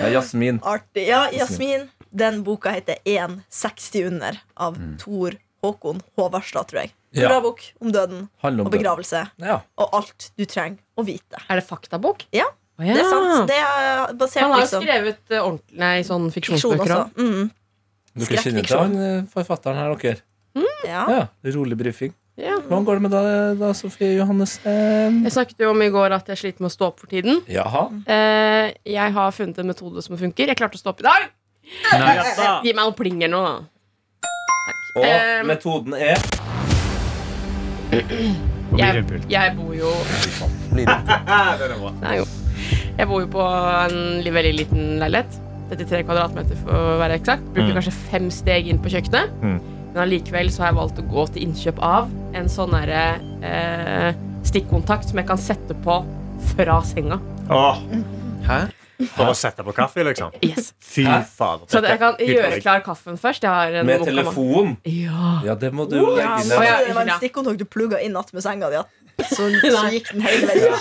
B: Det er Jasmin.
D: Artig. Ja, Jasmin. Den boka heter 160 under av Tor Håkon Håvardstad, tror jeg.
B: Mm. Ja.
D: Bra bok om døden
B: Handler om
D: og begravelse
B: Ja.
D: og alt du trenger å vite.
C: Er det faktabok?
D: Ja,
C: Å, ja.
D: Det er sant. Det er
C: Han
D: basert
C: har jo
D: liksom
C: skrevet eh, ordentlig, nei, sånn
D: fiksjon
C: fiksjonsbøker
D: også.
C: òg.
D: Mm.
B: Dere kjenner til han eh, forfatteren her, dere?
D: Ja.
B: Ja, Rolig brifing.
C: Ja.
B: Hvordan går det med deg, da, Sofie Johannessen?
C: Jeg snakket jo om i går at jeg sliter med å stå opp for tiden.
B: Jaha.
C: Eh, jeg har funnet en metode som funker. Jeg klarte å stå opp i dag! Gi meg noen pling eller noe, da.
B: Og
C: Takk. Eh,
B: metoden er
C: jeg, jeg bor jo Nei, jo. Jeg bor jo på en li- veldig liten leilighet. 33 kvadratmeter for å være eksakt. Bruker
B: Mm.
C: kanskje fem steg inn på kjøkkenet. Men allikevel så har jeg valgt å gå til innkjøp av en sånn derre eh, stikkontakt som jeg kan sette på fra senga.
F: Åh,
E: Hæ?
F: For å sette på kaffe, liksom.
C: Yes.
F: Fy
B: Hæ?
F: fader.
C: Så at jeg kan
F: Hyggelig.
C: gjøre klar kaffen først. Jeg har en
B: med
C: mokkama.
B: telefon.
C: Ja.
B: Ja, det må du jo legge
D: Ja, men
B: inn.
C: Å,
B: ja.
C: ja.
D: Det var en stikkontakt du plugga inn attmed senga di. at- Så, så gikk den hele veien.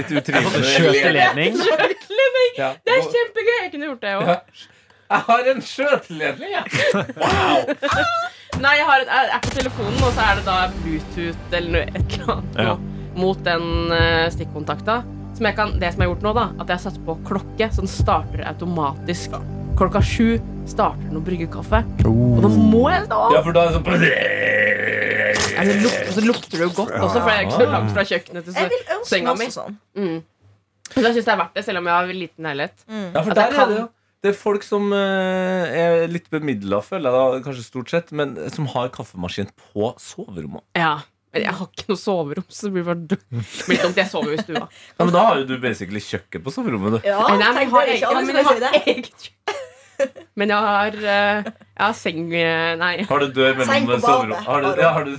B: Litt utrivelig.
E: Skjøteledning?
C: Skjøteledning!
B: Ja.
C: Det er kjempegøy! Jeg kunne gjort det òg.
B: Ja. Jeg har en skjøteledning, jeg.
C: Nei, jeg, har, jeg er på telefonen, og så er det da Bluetooth eller noe, et eller annet
E: Ja.
C: nå, mot den eh, stikkontakta. Som jeg kan, det som jeg har gjort nå, da, at jeg har satt på klokke, så den starter automatisk. Klokka sju starter den å brygge kaffe. Og da må jeg stå
B: Ja,
C: opp!
B: for da er det sånn
C: Er det lukt- Og så lukter det jo godt også, for det er ikke så langt fra kjøkkenet
D: Jeg vil
C: til
D: ønske meg
C: senga mi.
D: også sånn.
C: Mm. Så jeg syns det er verdt det, selv om jeg har liten leilighet.
B: Ja, for
C: At jeg
B: der
C: kan-
B: er det jo det er folk som eh, er litt bemidla, føler jeg, da, kanskje stort sett, men som har kaffemaskin på soverommet.
C: Ja. Men jeg har ikke noe soverom, så det blir bare blir dumt. Jeg sover jo i stua.
B: Ja, men Da har jo du basically kjøkken på soverommet. Du.
D: Ja,
C: Nei, nei, men jeg
D: tenk
C: har
D: det, ikke
C: eget, ja,
D: alle
C: men
D: skulle
C: jeg har
D: si det.
C: eget Men jeg har, eh, jeg har seng eh, Nei,
B: Har du dør
D: Seng
B: mellom
D: på badet.
B: soverommet? Har du, ja, har du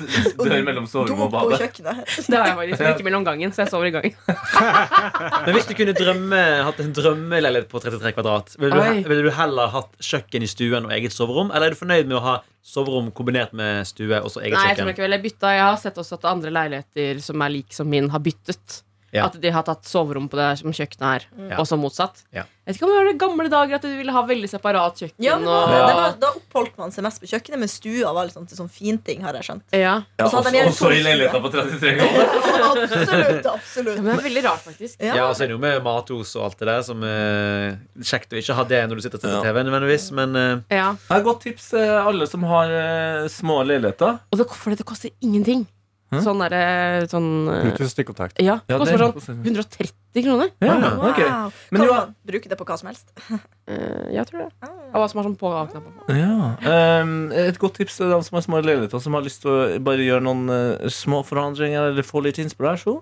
B: dør mellom
D: Do
B: soverommet og
D: på
B: badet?
D: kjøkkenet.
C: det har jeg faktisk. Men ikke mellom gangen, så jeg sover i gangen.
E: Men hvis du kunne drømme, hatt en drømmeleilighet på 33 kvadrat, ville
C: Oi.
E: du, ville du heller hatt kjøkken i stuen og eget soverom? Eller er du fornøyd med å ha soverom kombinert med stue og så eget
C: Nei, Jeg tror
E: kjøkken?
C: ikke vel jeg bytta Jeg har sett også at andre leiligheter som er like som min, har byttet.
E: Ja.
C: At de har tatt soverom på det som kjøkkenet her,
E: Ja.
C: og så motsatt.
E: Ja.
C: Jeg vet ikke om det var det gamle dager at du ville ha veldig separat kjøkken.
D: Ja, men da,
C: og,
D: det var, da oppholdt man seg mest på kjøkkenet, men stua var liksom til sånn finting, har jeg skjønt.
C: ja.
B: Ja,
D: Og så hadde
B: også,
D: de en
B: også i
D: solstue.
B: leiligheta på 33 grader.
D: absolutt,
C: Ja,
D: absolutt.
C: men det er veldig rart, faktisk.
D: Ja.
E: Ja, og så er det jo med matos og alt det der som er kjekt å ikke ha det når du sitter og ser på
B: Ja.
E: TV, nødvendigvis, men eh,
C: Ja.
B: Jeg har et godt tips eh, alle som har eh, små leiligheter.
C: Og det, fordi det koster ingenting. Sånn derre sånn eh,
F: Uten stikkontakt.
C: Ja, det
B: Ja,
C: koster
B: det-
C: sånn 130 kroner.
B: Ja, ok.
D: Wow.
B: Men
D: kan
B: jo-
D: man bruke det på hva som helst?
C: Eh, jeg tror det. Og hva som er sånn på knapper.
B: Ja. ehm, et godt tips til dem som har små leiligheter, som har lyst til å bare gjøre noen eh, små forandringer eller få litt inspirasjon.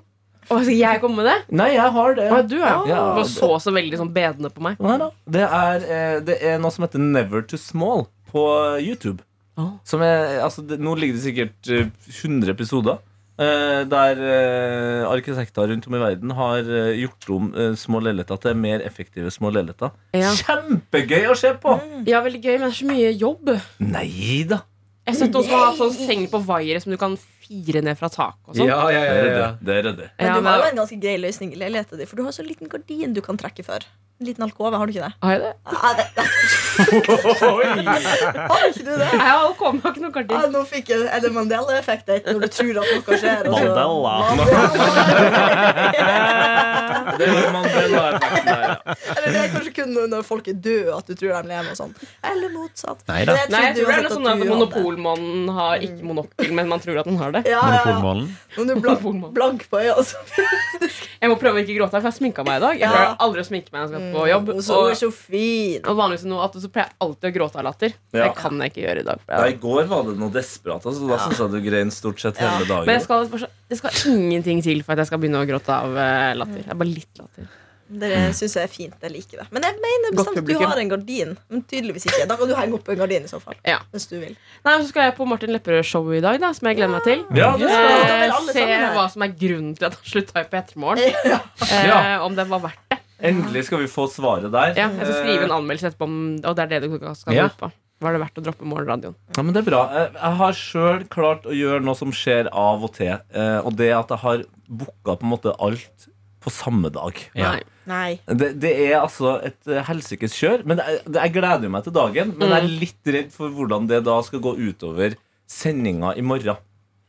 C: Å, skal jeg komme med det?
B: Nei, jeg har det.
C: Å, du er jo
B: Ja,
C: Du
B: det-
C: så så veldig sånn bedende på meg.
B: Nei da. Det er, eh, det er noe som heter Never Too Small på YouTube.
C: Å.
B: Som er, altså, det, nå ligger det sikkert eh, 100 episoder. eh, der eh, arkitekter rundt om i verden har eh, gjort om eh, små leiligheter til mer effektive små leiligheter.
C: Ja. Mm.
B: Kjempegøy å se på!
C: ja, veldig gøy, men det er så mye jobb.
B: Nei da.
C: Jeg har sett noen som har hatt sånn seng på vaiere som du kan fire ned fra taket og sånn.
E: ja, ja,
B: Det
E: ja,
B: er
E: ja,
B: det.
E: ja.
B: det, er det.
C: Ja,
D: Men du har jo
C: men,
D: en ganske grei løsning i leiligheten din, for du har så liten gardin du kan trekke for. En liten alkove, har du ikke det?
C: Har jeg det?
D: Ah, det, det. Har ikke du det?
C: Jeg har kommet med ikke noe
D: Ja,
C: kardin.
D: nå fikk jeg Eller Mandela-effekt det er ikke når du tror at noe skjer. og så-
E: Mandela.
B: Det er jo Mandela-effekten der, ja.
D: Eller det er kanskje kun når- når folk er døde at du tror de lever. og sånn Eller motsatt.
E: Neida.
D: Men
C: Nei, jeg tror
D: trodde
C: det er
D: uansett
C: noe sånn at
D: du hadde-
C: monopolmannen har ikke monokkel, men man tror at den har det.
D: Ja, ja, ja.
E: Monopolmålen.
D: Når du er blank,
C: Monopolmann.
D: blank på øya, så
C: Jeg må prøve å ikke gråte, for jeg sminka meg i dag. Jeg
D: Ja.
C: pleier aldri å sminke meg når jeg skal på jobb.
D: Og så hun er
C: Og,
D: så fin.
C: og vanligvis nå at så pleier jeg alltid å gråte av latter.
B: Ja.
C: Det kan jeg ikke gjøre i dag. for jeg-
B: Ja, I går var det noe desperat. Altså, da syns jeg du grein stort sett hele dagen.
C: Men jeg skal, det skal ingenting til for at jeg skal begynne å gråte av eh, latter. Det er bare litt latter.
D: Det syns jeg er fint. Jeg liker det. Men jeg mener
C: Godt
D: bestemt at du
C: publikum.
D: har en gardin. Men tydeligvis ikke. Da kan du henge opp en gardin i så fall.
C: Ja.
D: Hvis du vil.
C: Nei, og Så skal jeg på Martin Lepperød-showet i dag, da, som jeg gleder meg til.
B: Ja, det
D: skal vi. Det skal vel
C: Eh,
D: alle
C: Se
D: sammen her.
C: hva som er grunnen til at han slutta i P3morgen.
D: Ja.
C: Eh, om det var verdt det.
B: Endelig skal vi få svaret der.
C: Ja, jeg skal skrive en anmeldelse etterpå, om- og det er det du skal
B: Ja.
C: gå ut på. Var det verdt å droppe morgenradioen?
B: Ja, men det er bra. Jeg, jeg har sjøl klart å gjøre noe som skjer av og til. eh, Og det at jeg har booka på en måte alt på samme dag.
E: Ja.
C: Nei.
D: Nei.
B: Det, det er altså et eh, helsikes kjør. Men jeg, det- jeg gleder meg til dagen. Men
C: Mm.
B: jeg er litt redd for hvordan det da skal gå utover sendinga i morgen.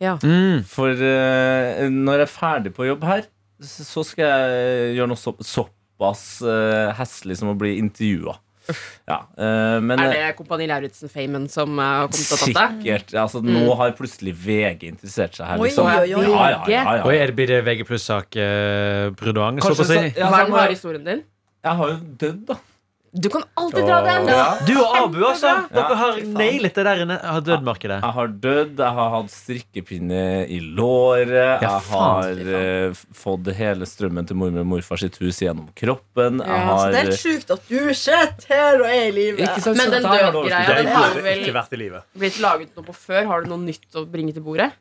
C: Ja.
B: Mm. For eh, når jeg er ferdig på jobb her, s- så skal jeg gjøre noe så, såpass uh, heslig som å bli intervjua. Ja, eh, men
C: Er det Kompani Lauritzen-famen som eh, har kommet og tatt deg?
B: Sikkert. Altså, Nå
C: Mm.
B: har plutselig VG interessert seg her.
D: Oi,
B: Liksom.
D: oi, oi, oi.
B: Ja, ja, ja,
E: Oi,
B: ja.
E: er det blir det VG pluss-sak eh, Brudoang? Så
B: Kanskje
E: på å si.
B: så- ja,
C: Hva
B: sånn,
C: er den harde historien din?
B: jeg har jo dødd, da.
C: Du kan alltid dra den!
E: Du og Abu, altså. Dere har
D: Fy faen.
E: nailet det der inne. Har dødmarkedet.
B: Jeg har dødd, jeg har hatt strikkepinne i låret, jeg
E: faen,
B: har eh, f- fått hele strømmen til mormor og morfar sitt hus gjennom kroppen.
C: Ja,
B: Jeg
C: så
D: Så
B: har
D: Altså, det er helt sjukt at du sitter her og er i live.
B: Ikke sant,
C: Men
B: så
C: den
B: der har du
C: dødgreia,
B: overskudd.
C: den har du vel
F: Ikke vært i livet.
C: blitt laget noe på før? Har du noe nytt å bringe til bordet?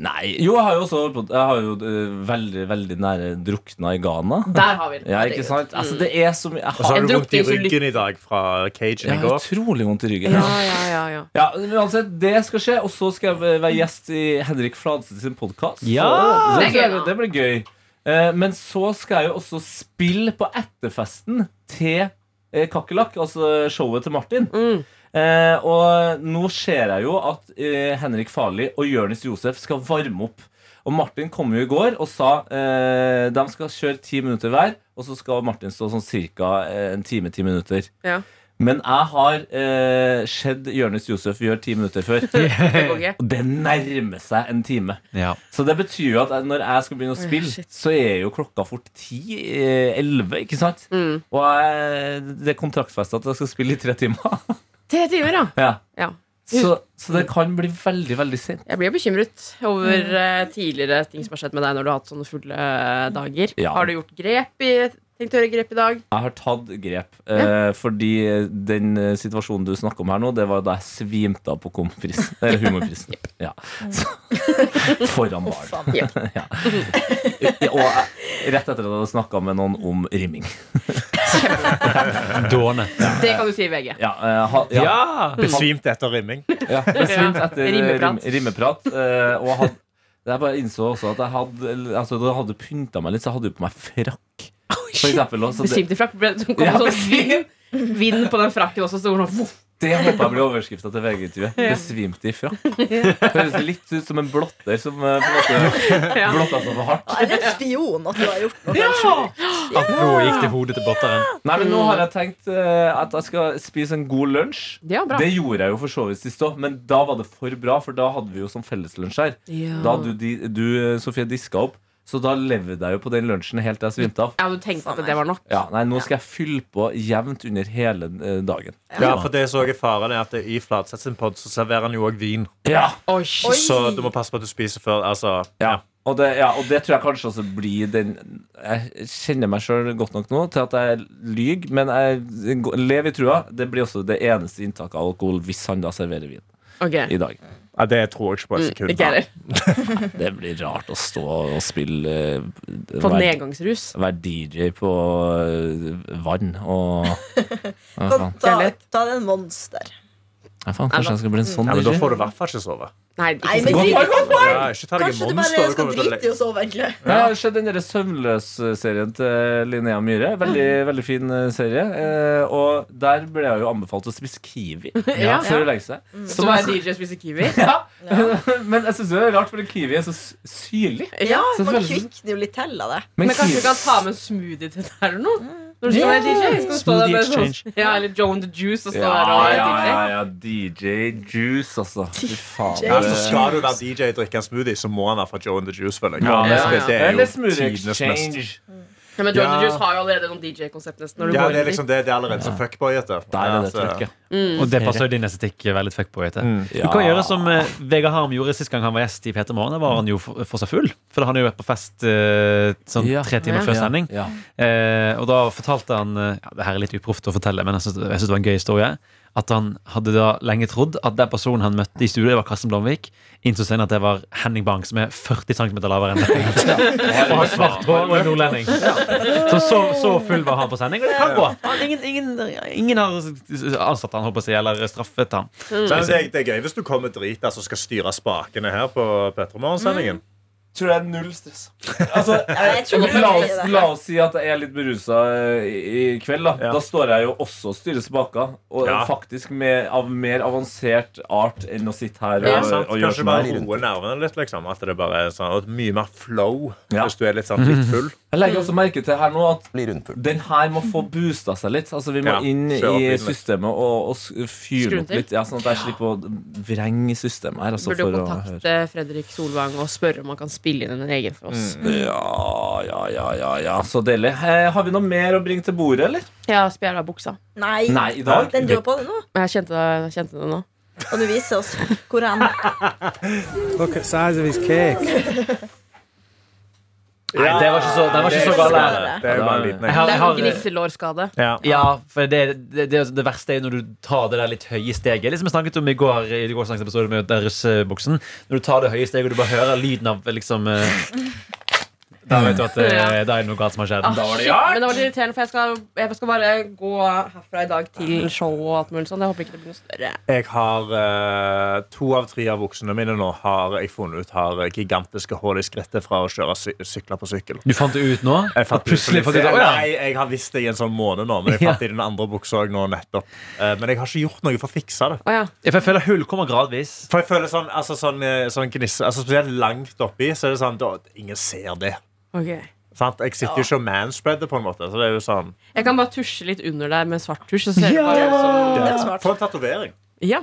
B: Nei, jo, jeg har jo også holdt på- Jeg har jo eh, veldig, veldig nære drukna i Ghana.
C: Der har vi den.
B: Ja, ikke sant? Altså, det er så mye Jeg
F: Og så
B: har,
F: har
C: En
F: du vondt i
C: drukningsulykke.
F: ryggen i dag fra cagen
B: jeg
F: i
B: har
F: går.
B: utrolig vondt i ryggen.
C: Ja, ja, ja, ja.
B: Ja, men uansett, det skal skje, og så skal jeg være gjest i Henrik Fladseth sin podkast.
E: Ja!
B: det,
C: Det er gøy,
B: blir-
C: da.
B: det blir gøy. Eh, Men så skal jeg jo også spille på etterfesten til eh, Kakerlakk, altså showet til Martin.
C: Mm.
B: Eh, og nå ser jeg jo at eh, Henrik Farli og Jonis Josef skal varme opp. Og Martin kom jo i går og sa eh, de skal kjøre ti minutter hver. Og så skal Martin stå sånn cirka eh, en time, ti minutter.
C: Ja.
B: Men jeg har eh, sett Jonis Josef gjøre ti minutter før.
C: Det går ikke.
B: Og det nærmer seg en time.
E: Ja.
B: Så det betyr jo at jeg- når jeg skal begynne å spille, så er jo klokka fort ti-elleve, ikke sant?
C: Mm.
B: Og jeg, det er kontraktfesta at jeg skal spille i tre timer.
C: Tre timer, ja.
B: ja
C: ja.
B: så, så det kan bli veldig, veldig sent.
C: Jeg blir bekymret over eh, tidligere ting som har skjedd med deg når du har hatt sånne fulle eh, dager.
B: Ja.
C: Har du gjort grep i Tenkt å gjøre grep i dag?
B: Jeg har tatt grep. Eh, fordi den eh, situasjonen du snakker om her nå, det var da jeg svimte av på komprisen, eller humorprisen. Ja. Så, foran barn.
D: Faen.
B: Ja. Og jeg- rett etter at jeg hadde snakka med noen om rimming.
E: Dåne.
C: Det kan du si i VG.
B: Ja, eh, ha, ja,
E: Ja!
F: Besvimt etter rimming.
B: Ja, besvimt
C: Ja,
B: etter rim,
C: rimeprat.
B: rimmeprat. eh, og hadde, jeg bare innså også at jeg hadde, altså, da hadde pynta meg litt, så jeg hadde jo på meg frakk. For eksempel, også, så det,
C: Besvimte frakk. ble- Som kom
B: Ja,
C: sånn vind, vind på den frakken også. Så var det sånn, voff.
B: det håper jeg blir overskrifta til VG-intervjuet. Besvimte i frakk. Høres litt ut som en blotter som eh, på en måte
C: Ja.
B: blotta seg for hardt.
D: Er det en spion at du har gjort noe?
E: At blodet gikk til hodet til botteren.
B: Nei,
C: Mm.
B: men nå har jeg tenkt eh, at jeg skal spise en god lunsj.
C: Ja, bra.
B: Det gjorde jeg jo for så vidt sist òg, men da var det for bra, for da hadde vi jo sånn felleslunsj her.
C: Ja.
B: Da du, di- du Sofie, diska opp. Så da levde jeg jo på den lunsjen helt til jeg svimte av.
C: Ja, du tenkte at det var nok?
B: Ja, nei, Nå skal jeg fylle på jevnt under hele eh, dagen.
F: Ja, for det som også er faren, er at det- i Fladseth sin pod så serverer han jo òg vin.
B: Ja,
C: Oi, shit.
F: Så du må passe på at du spiser før. Altså,
B: ja. Og, det, ja, og det tror jeg kanskje også blir den Jeg kjenner meg sjøl godt nok nå til at jeg lyver, men jeg g- lever i trua. Det blir også det eneste inntaket av alkohol hvis han da serverer vin
C: Ok.
B: i dag.
F: ja, det tror jeg ikke på et sekund.
C: Mm, Ikke heller.
B: Det blir rart å stå og spille eh,
C: På
B: være-
C: nedgangsrus.
B: Være DJ på eh, vann og
F: Sånn.
D: Ta, ta den monster.
B: Ja, faen, kanskje jeg skal bli en sånn
F: Ja, men Da
B: DJ?
F: får du i hvert fall ikke sove.
C: Nei, ikke
D: Nei,
C: så
D: men
C: godt.
D: drit-
F: Ja, ikke ta deg en
D: Kanskje du bare
F: monster. du
D: skal
F: kommer til å le-
D: drite i å sove, egentlig.
B: Ja, jeg har sett den derre Søvnløs-serien til Linnea Myhre. Veldig, veldig fin eh, serie. Eh, og der ble jeg jo anbefalt å spise kiwi
C: Ja. Mm.
B: før hun legger seg.
C: Så du er DJ og spiser kiwi?
B: Ja. Men jeg syns det er rart, for kiwi er så s- syrlig.
D: Ja,
B: Så
D: man
B: føles-
D: kvikner jo litt til av det.
C: Men kanskje du kan ta med en smoothie til det her eller noe? Når du skal være DJ? Skal du stå der
E: Smoothie
C: med sånn-
E: exchange.
C: Ja, eller Joan the Juice og stå
B: Ja,
C: der og
B: ja,
C: være
B: ja,
C: DJ.
B: ja. DJ Juice, altså. Fy faen.
F: Ja, altså, skal du være DJ og drikke en smoothie, så må han være fra Joe and the Juice. føler jeg.
B: Ja,
C: ja,
F: det,
C: ja.
F: det er
B: Eller
F: jo
B: Smoothie
F: tidenes mest.
B: Exchange.
C: Ja, men Joan
F: Ja.
C: the Juice har jo allerede noen DJ-konsept nesten. Når du
F: Ja,
C: går
F: det er
C: inn
F: liksom det, det er allerede så fuckboyete.
B: Der er det
F: Altså,
B: trøkket.
E: Og det passer jo din estetikk veldig fuck på. Heter. Du kan gjøre som eh, Vegard Harm gjorde sist gang han var gjest i P3 Morgen. Da var han jo for for seg full, for han har jo vært på fest eh, sånn
B: Ja.
E: tre timer
C: Ja.
E: før sending.
B: Ja.
E: Eh, og da fortalte han eh, ja, Det her er litt uproft å fortelle, men jeg syns det var en gøy historie. At han hadde da lenge trodd at den personen han møtte i studio, var Karsten Blomvik. Innså senere at det var Henning Bang, som er 40 cm lavere enn deg. Og har svart hår og er nordlending. Så, så så full var han på sending, og det kan gå. Han, ingen, ingen, ingen har ansatt han, holdt på å si, eller straffet han.
F: Men det, er- det er gøy hvis du kommer drita altså, og skal styre spakene her på Petromorgen-sendingen.
B: Tror jeg er null stress. Altså,
D: Jeg tror
B: La
D: faktisk
B: oss,
D: det.
B: la oss si at jeg er litt berusa i, i kveld. Da
F: Ja.
B: Da står jeg jo også og styrer spaker. Og
F: Ja.
B: faktisk med, av mer avansert art enn å sitte her og,
F: Ja, sant?
B: og gjøre
F: Kanskje
B: som
F: bare
B: jeg vil.
F: roe nervene litt. liksom At det bare er sånn, og Mye mer flow
B: Ja.
F: hvis du er litt, sånn, litt full.
B: Jeg legger også merke til her nå at
G: Bli rundfull.
B: den her må få boosta seg litt. Altså Vi må
F: Ja,
B: inn
F: kjør opp
B: i
F: litt.
B: systemet og, og s-
C: Skru
B: fyre opp
C: til.
B: litt. Ja, sånn at jeg slipper å vrenge systemet her. Altså,
C: Burde jo
B: for å høre.
C: kontakte Fredrik Solvang og spørre om han kan spille inn en egen for oss.
B: Ja, ja, ja, ja, ja. Så deilig. Eh, har vi noe mer å bringe til bordet, eller?
C: Ja, spjæra buksa.
D: Nei.
B: Nei, i dag?
D: Den driver på det nå,
C: Men Jeg kjente det, jeg kjente det nå.
D: og du viser oss hvor han
I: Look at size of his cake.
E: Nei, det var ikke så, det var ikke så galt.
D: gale.
F: Det er jo bare en liten
E: Jeg
F: en.
E: har,
C: Det
E: jeg
C: er
E: har,
C: en griselårskade.
F: Ja.
E: Ja, for det, det, det, det verste er jo når du tar det der litt høye steget. Liksom jeg snakket om i går i gårsdagens episode med den russebuksen. Når du tar det høye steget og du bare hører lyden av liksom eh, Da vet du at det, da er det noe galt som har skjedd.
C: Ah, shit, men det var litt irriterende, for jeg skal, jeg skal bare gå herfra i dag til show og alt mulig sånn. Jeg håper ikke det blir noe større.
F: Jeg har eh, To av tre av buksene mine nå har jeg funnet ut har gigantiske hull i skrittet fra å kjøre sy sykler på sykkel.
E: Du fant det ut nå?
F: Jeg fant
E: Og plutselig
F: ut for
E: fant
F: litt-
E: du ut Å ja.
F: Nei, jeg har visst det i en sånn måned nå, men jeg fant det i den andre buksa òg nå nettopp. Eh, Men jeg har ikke gjort noe for å fikse det.
C: Å ja.
E: Ja, For jeg føler hull kommer gradvis.
F: For jeg føler sånn, altså sånn, eh, sånn gnisse altså Spesielt langt oppi, så er det sånn da, Ingen ser det.
C: Ok.
F: Sant? Jeg sitter jo ikke og manspreader, på en måte. Så det er jo sånn
C: Jeg kan bare tusje litt under der med svart tusj. Og så ser det bare ut som
D: Det var smart.
F: Få en tatovering.
C: Ja.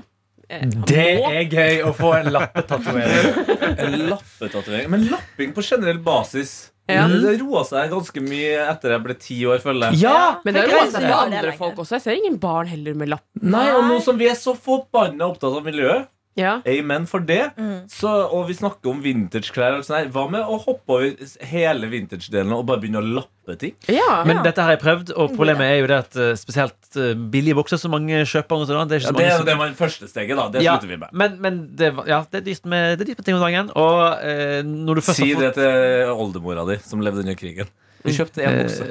C: Eh,
E: Det
C: nå-
E: er gøy å få en lappetatovering.
B: En lappetatovering. Men lapping på generell basis Mm.
C: Ja.
B: Det roa seg ganske mye etter jeg ble ti år, føler jeg.
E: Ja!
C: Men det er
D: Jeg
C: jo
D: kan
C: masse
D: ikke
C: med
D: gjøre det
C: andre
D: lenger.
C: folk også. Jeg ser ingen barn heller med lapp.
B: Nei, og nå som vi er så forbanna opptatt av miljøet,
C: Ja.
B: amen for det, så, og vi snakker om vintageklær og sånn her, hva med å hoppe over hele vintage-delen og bare begynne å lappe ting?
C: ja.
E: Men dette har jeg prøvd, og problemet er jo det at eh, spesielt eh, billige bukser som mange kjøper. Og sånn, det er ikke så
B: det
E: mange
B: er
E: som-
B: jo det man første steget, da. Det
E: ja,
B: slutter vi med.
E: men, men det, var- ja, det er dyrt med, det er dyrt med ting om dagen. Og eh, når du først
B: Si
E: har
B: det
E: fått
B: til oldemora di, som levde under krigen. Vi kjøpte én bukse.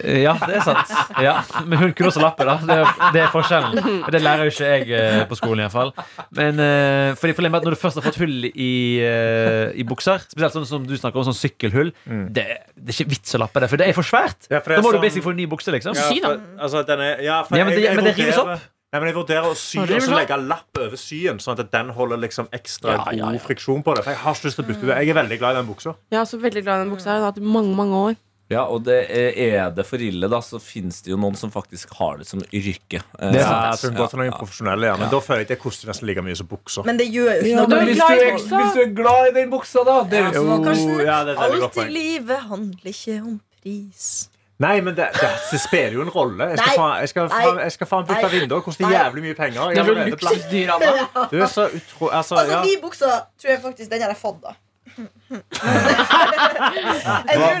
E: Eh, Ja, det er sant. Ja. Men hun kunne også lappe, da. Det er, det er forskjellen. Men Det lærer jo ikke jeg eh, på skolen, iallfall. Men eh, fordi problemet er at når du først har fått hull i, eh, i bukser, spesielt sånn som du snakker om, sånn sykkelhull, det, det er ikke vits å lappe det, for det er for svært.
F: Mm. Ja, for det
E: Da
F: er
E: må du
F: sånn-
E: basically få en ny bukse, liksom.
C: Sy, da.
F: for, altså, den er, ja, for
E: Ja, men det-
F: jeg- jeg
E: men det rives
F: vurderer-
E: opp.
F: Nei, men jeg vurderer å sy og
C: det rives
F: så
C: opp.
F: legge lapp over syen, sånn at den holder liksom ekstra god friksjon på det. For jeg har ikke lyst til å bytte ut. Jeg er veldig glad i den buksa.
C: Jeg er så veldig glad i den buksa. her. Jeg har hatt den i mange, mange år.
B: Ja, og det er, er det for ille, da, så fins det jo noen som faktisk har det som yrke. Eh,
F: Ja, jeg tror hun går til noen profesjonelle, ja. Men da føler jeg det koster nesten like mye som buksa.
D: Men det gjør jo ikke noe.
C: men
D: med
C: hvis
D: glad i
C: du er-
D: buksa.
B: hvis du er glad i den buksa, da Det er jo ikke sånn at
D: Karsten,
F: Oh, ja, det er et veldig godt
D: alt i
F: poeng.
D: livet handler ikke om pris.
F: Nei, men det, det, det spiller jo en rolle. Jeg skal
D: Nei.
F: faen- jeg skal faen- jeg skal faen bytte
D: Nei.
F: vindu og koste
D: Nei.
F: jævlig mye penger. Jeg
C: Det er
F: har
C: jo
F: allerede plass.
C: luksusdyr, Anna.
F: Du er så utro... Altså,
D: Altså,
F: ja.
D: de buksa tror jeg faktisk den har jeg fått, da. jeg
B: Hva,
D: tror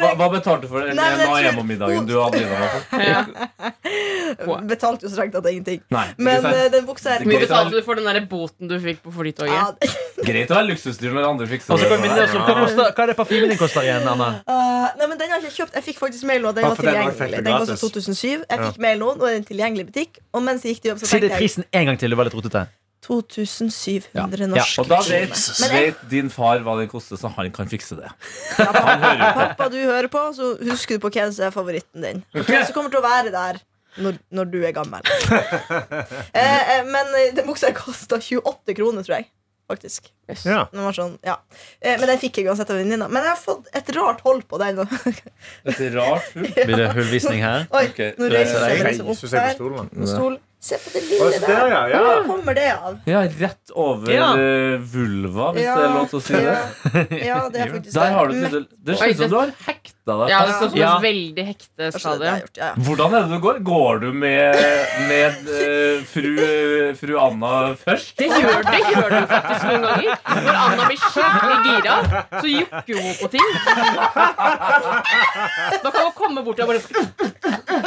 B: hva,
D: jeg
B: hva betalte du for den
D: Nei, men jeg tror-
B: Naemo-middagen du hadde? Lina, for?
D: betalte jo så strengt at det er ingenting.
B: Nei, ikke
D: Men
B: sant?
D: eh, den buksa her
B: Det
C: Hvor
B: går-
C: betalte du for den der boten du fikk på flytoget?
D: ja,
B: Greit å være luksusdyr når andre fikser
E: Og så kan vi minne oss om hva, koster, hva er det parfymen din koster igjen, Anna?
D: Ah, nei, men Den har jeg ikke kjøpt. Jeg fikk faktisk mail nå. Den
F: Ja,
D: var
F: for den var
D: tilgjengelig.
F: faktisk
D: Den kostet
F: gratis.
D: 2007. Jeg fikk mail nå, nå er den tilgjengelig i butikk. Og mens jeg gikk til jobb, så
E: Si det
D: tenkte jeg
E: prisen en gang til. Du var litt rotete.
D: 2700
E: Ja,
D: norske
B: Og da
D: kroner.
B: vet,
D: Men jeg,
B: vet din far hva den koster, så han kan fikse det.
D: pappa, du hører på, så husker du på hvem som er favoritten din. Hvem som kommer til å være der når, når du er gammel. eh, eh, men eh, den buksa kosta 28 kroner, tror jeg. Faktisk.
F: Ja.
D: Den var sånn, ja. eh, men den fikk jeg uansett av venninna. Men jeg har fått et rart hold på den.
B: Et rart hull.
E: Blir det hullvisning her?
D: Oi,
B: Ok,
D: nå
B: reiser
D: reiser jeg meg
F: Jesus,
D: liksom opp
F: jeg på
D: her.
F: stolen.
D: Nå stol. Se på det
F: Å,
D: lille
F: se der,
D: der.
F: ja, ja.
D: Hvor kommer det av?
B: Ja, rett over
E: Ja.
B: eh, vulva, hvis
D: Ja,
B: det er lov til å si det.
D: Ja, ja det er faktisk
B: Der har du
D: Men-
B: tydelig- Det ser ut som du har hekta deg
C: Ja, det
B: fast.
C: står som
E: Ja.
C: et veldig hekte
D: Kanskje det er det jeg har
C: stadium.
D: gjort, ja, ja.
B: Hvordan er det du går? Går du med, med eh, fru, fru Anna først?
C: Det gjør det gjør du faktisk noen ganger. Når Anna blir skikkelig gira, så jukker hun på ting. Da kan hun komme bort og bare Så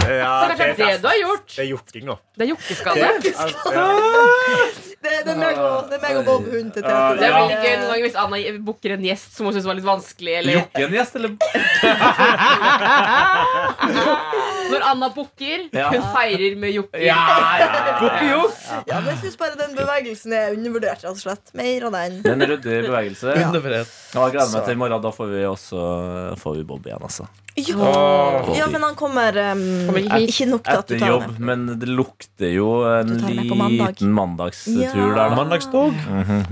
F: Ja,
C: kanskje det er det du har gjort.
F: Det er jukking, da.
C: Det er jukkeskade.
F: altså-
D: Det, det er meg og, det er meg og Bob hunden til Tete.
C: Det er veldig gøy noen ganger hvis Anna booker en gjest som hun syns var litt vanskelig. Eller
B: Jokke en gjest, eller?
C: når Anna booker,
B: Ja.
C: hun feirer med jokking.
B: Ja, ja, ja.
D: Ja, men jeg syns bare den bevegelsen er undervurdert, rett og slett. Mer av den.
B: Det er en ryddig bevegelse. Ja. Jeg gleder meg til i morgen. Da får vi også får vi Bob igjen, altså.
D: Ja, ja men han kommer um,
C: Kommer ikke hit.
D: Ikke nok til at du
B: Etter
D: tar
B: jobb,
D: den.
B: men det lukter jo en
D: Du tar den med på mandag.
B: liten mandagstur
D: Ja.
B: der. da. Mhm,
E: Mandagstog.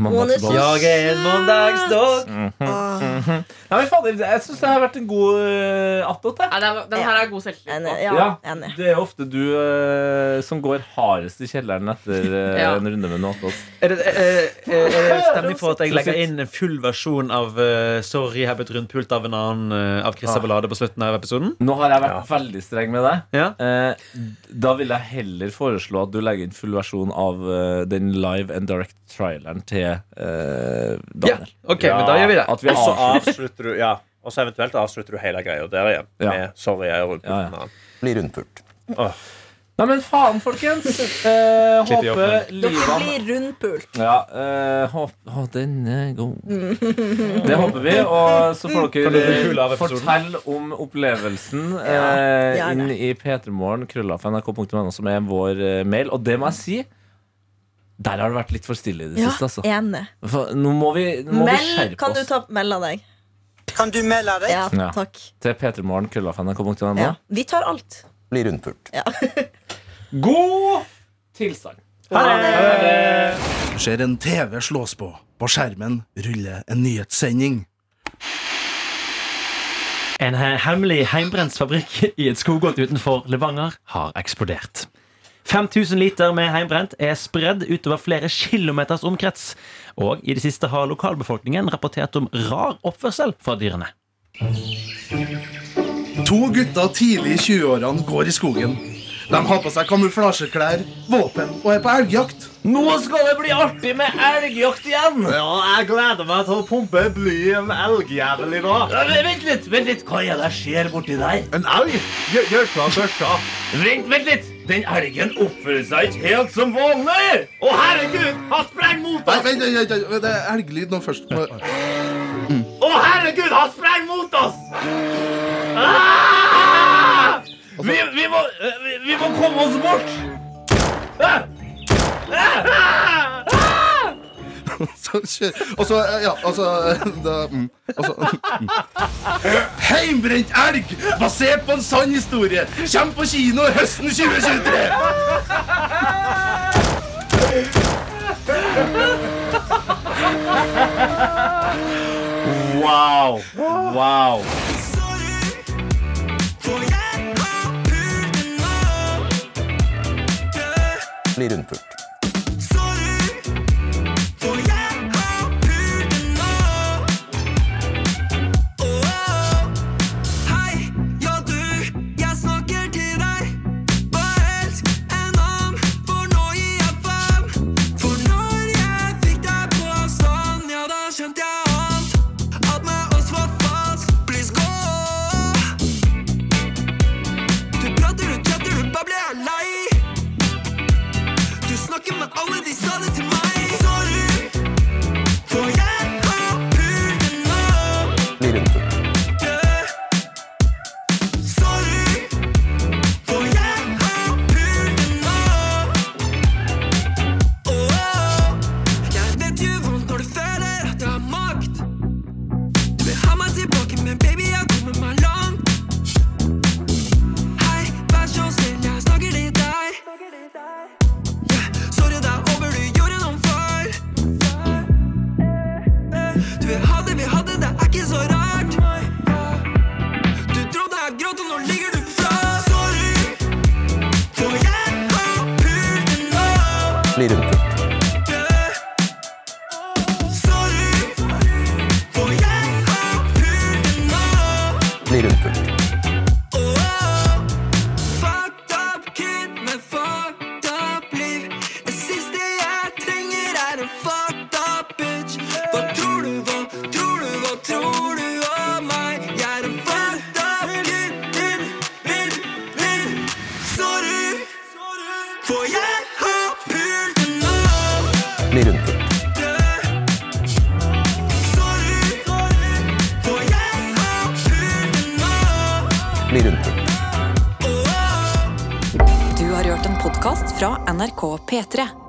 B: Mandagsbob.
D: Ja.
E: Jeg er en mandagsdog.
D: Ah,
B: Nei, men fader, jeg syns det har vært en god uh, attåt, jeg.
C: Nei, den, den her er god selvtillit.
D: enig.
C: på.
D: Ja,
B: Ja.
D: enig.
B: Det er ofte du eh, som går hardest i kjelleren etter eh,
C: Ja.
B: en runde med noen attåt.
E: Er det eh, eh, eh, stemning for at jeg legger inn en full versjon av eh, Sorry, jeg har blitt rundpult av en annen eh, av
J: Ah.
E: Christer Ballade på slutten av episoden?
B: Nå har jeg vært veldig streng med deg.
E: Ja.
B: Eh, da vil jeg heller foreslå at du legger inn full versjon av eh, den live and direct-traileren til eh,
E: Ja,
B: Daniel.
E: ok, men da gjør vi det. Altså,
B: At vi
F: Og så
B: avslutter.
F: avslutter du Ja, og så eventuelt avslutter du hele greia der igjen.
B: Ja.
F: Med 'sorry, jeg er rundt
B: Ja, ja.
F: pulten her».
G: Bli rundpult.
B: Nei, men faen, folkens! Eh,
E: Klipp i
B: håper
E: åpning.
D: Dere
B: livene
D: blir rundpult.
B: ja, eh, håp, Å, den er god. Det håper vi. Og så får
E: Kan du bli full
B: dere
E: av episoden?
B: fortelle om opplevelsen eh,
D: Ja, gjerne.
B: inn i p3morgen, krøllafnrk.no, som er vår eh, mail. Og det må jeg si, der har det vært litt for stille i det
D: Ja,
B: siste. altså
D: enig.
B: For, nå må vi, nå må vi
D: Meld,
B: skjerpe
D: kan du
B: oss
D: ta melde deg?
I: Kan du melde deg?
D: Ja,
B: Ja.
D: takk.
B: til p3morgen, krøllafnrk.no.
D: Ja. Vi tar alt.
G: Bli rundpult.
B: God tilstand!
J: Ser en TV slås på. På skjermen ruller en nyhetssending.
E: En he- hemmelig heimbrentsfabrikk i et skogholt utenfor Levanger har eksplodert. 5000 liter med heimbrent er spredd utover flere kilometers omkrets. Og i det siste har lokalbefolkningen rapportert om rar oppførsel fra dyrene.
J: To gutter tidlig i 20-årene går i skogen. De har på seg kamuflasjeklær, våpen og er på elgjakt.
B: Nå skal det bli artig med elgjakt igjen!
F: Ja, jeg gleder meg til å pumpe bly i en elgjævel i dag.
B: Ja, men Vent litt! vent litt, Hva er det jeg ser borti der?
F: En elg? Gjør, gjør klar børsa.
B: Vent, vent litt! Den elgen oppfører seg ikke helt som vanlig! Å, herregud! Han sprenger mot
J: Nei, vent, vent, vent, vent, det er elglyd nå først. Må-
B: Å, herregud! Han sprenger mot oss! Ah! Vi, må, komme oss bort!
J: Så kjør. Og så, ja, altså da, mm, og så, mm. Heimbrent elg, basert på en sann historie, kommer på kino høsten 2023.
B: Wow! Wow!
G: Bli rundpult.
J: Oh,
I: Alle de sa det til meg. Sorry, for jeg har pulen nå.
G: Bli rundpult.
I: Sorry, for jeg har pulen nå. Oh, oh,
E: Bli rundpult. Bli rundpult.
G: For jeg har pult nå.
E: Bli rundpult. Bli rundpult.
A: Du har hørt en podkast fra NRK P3.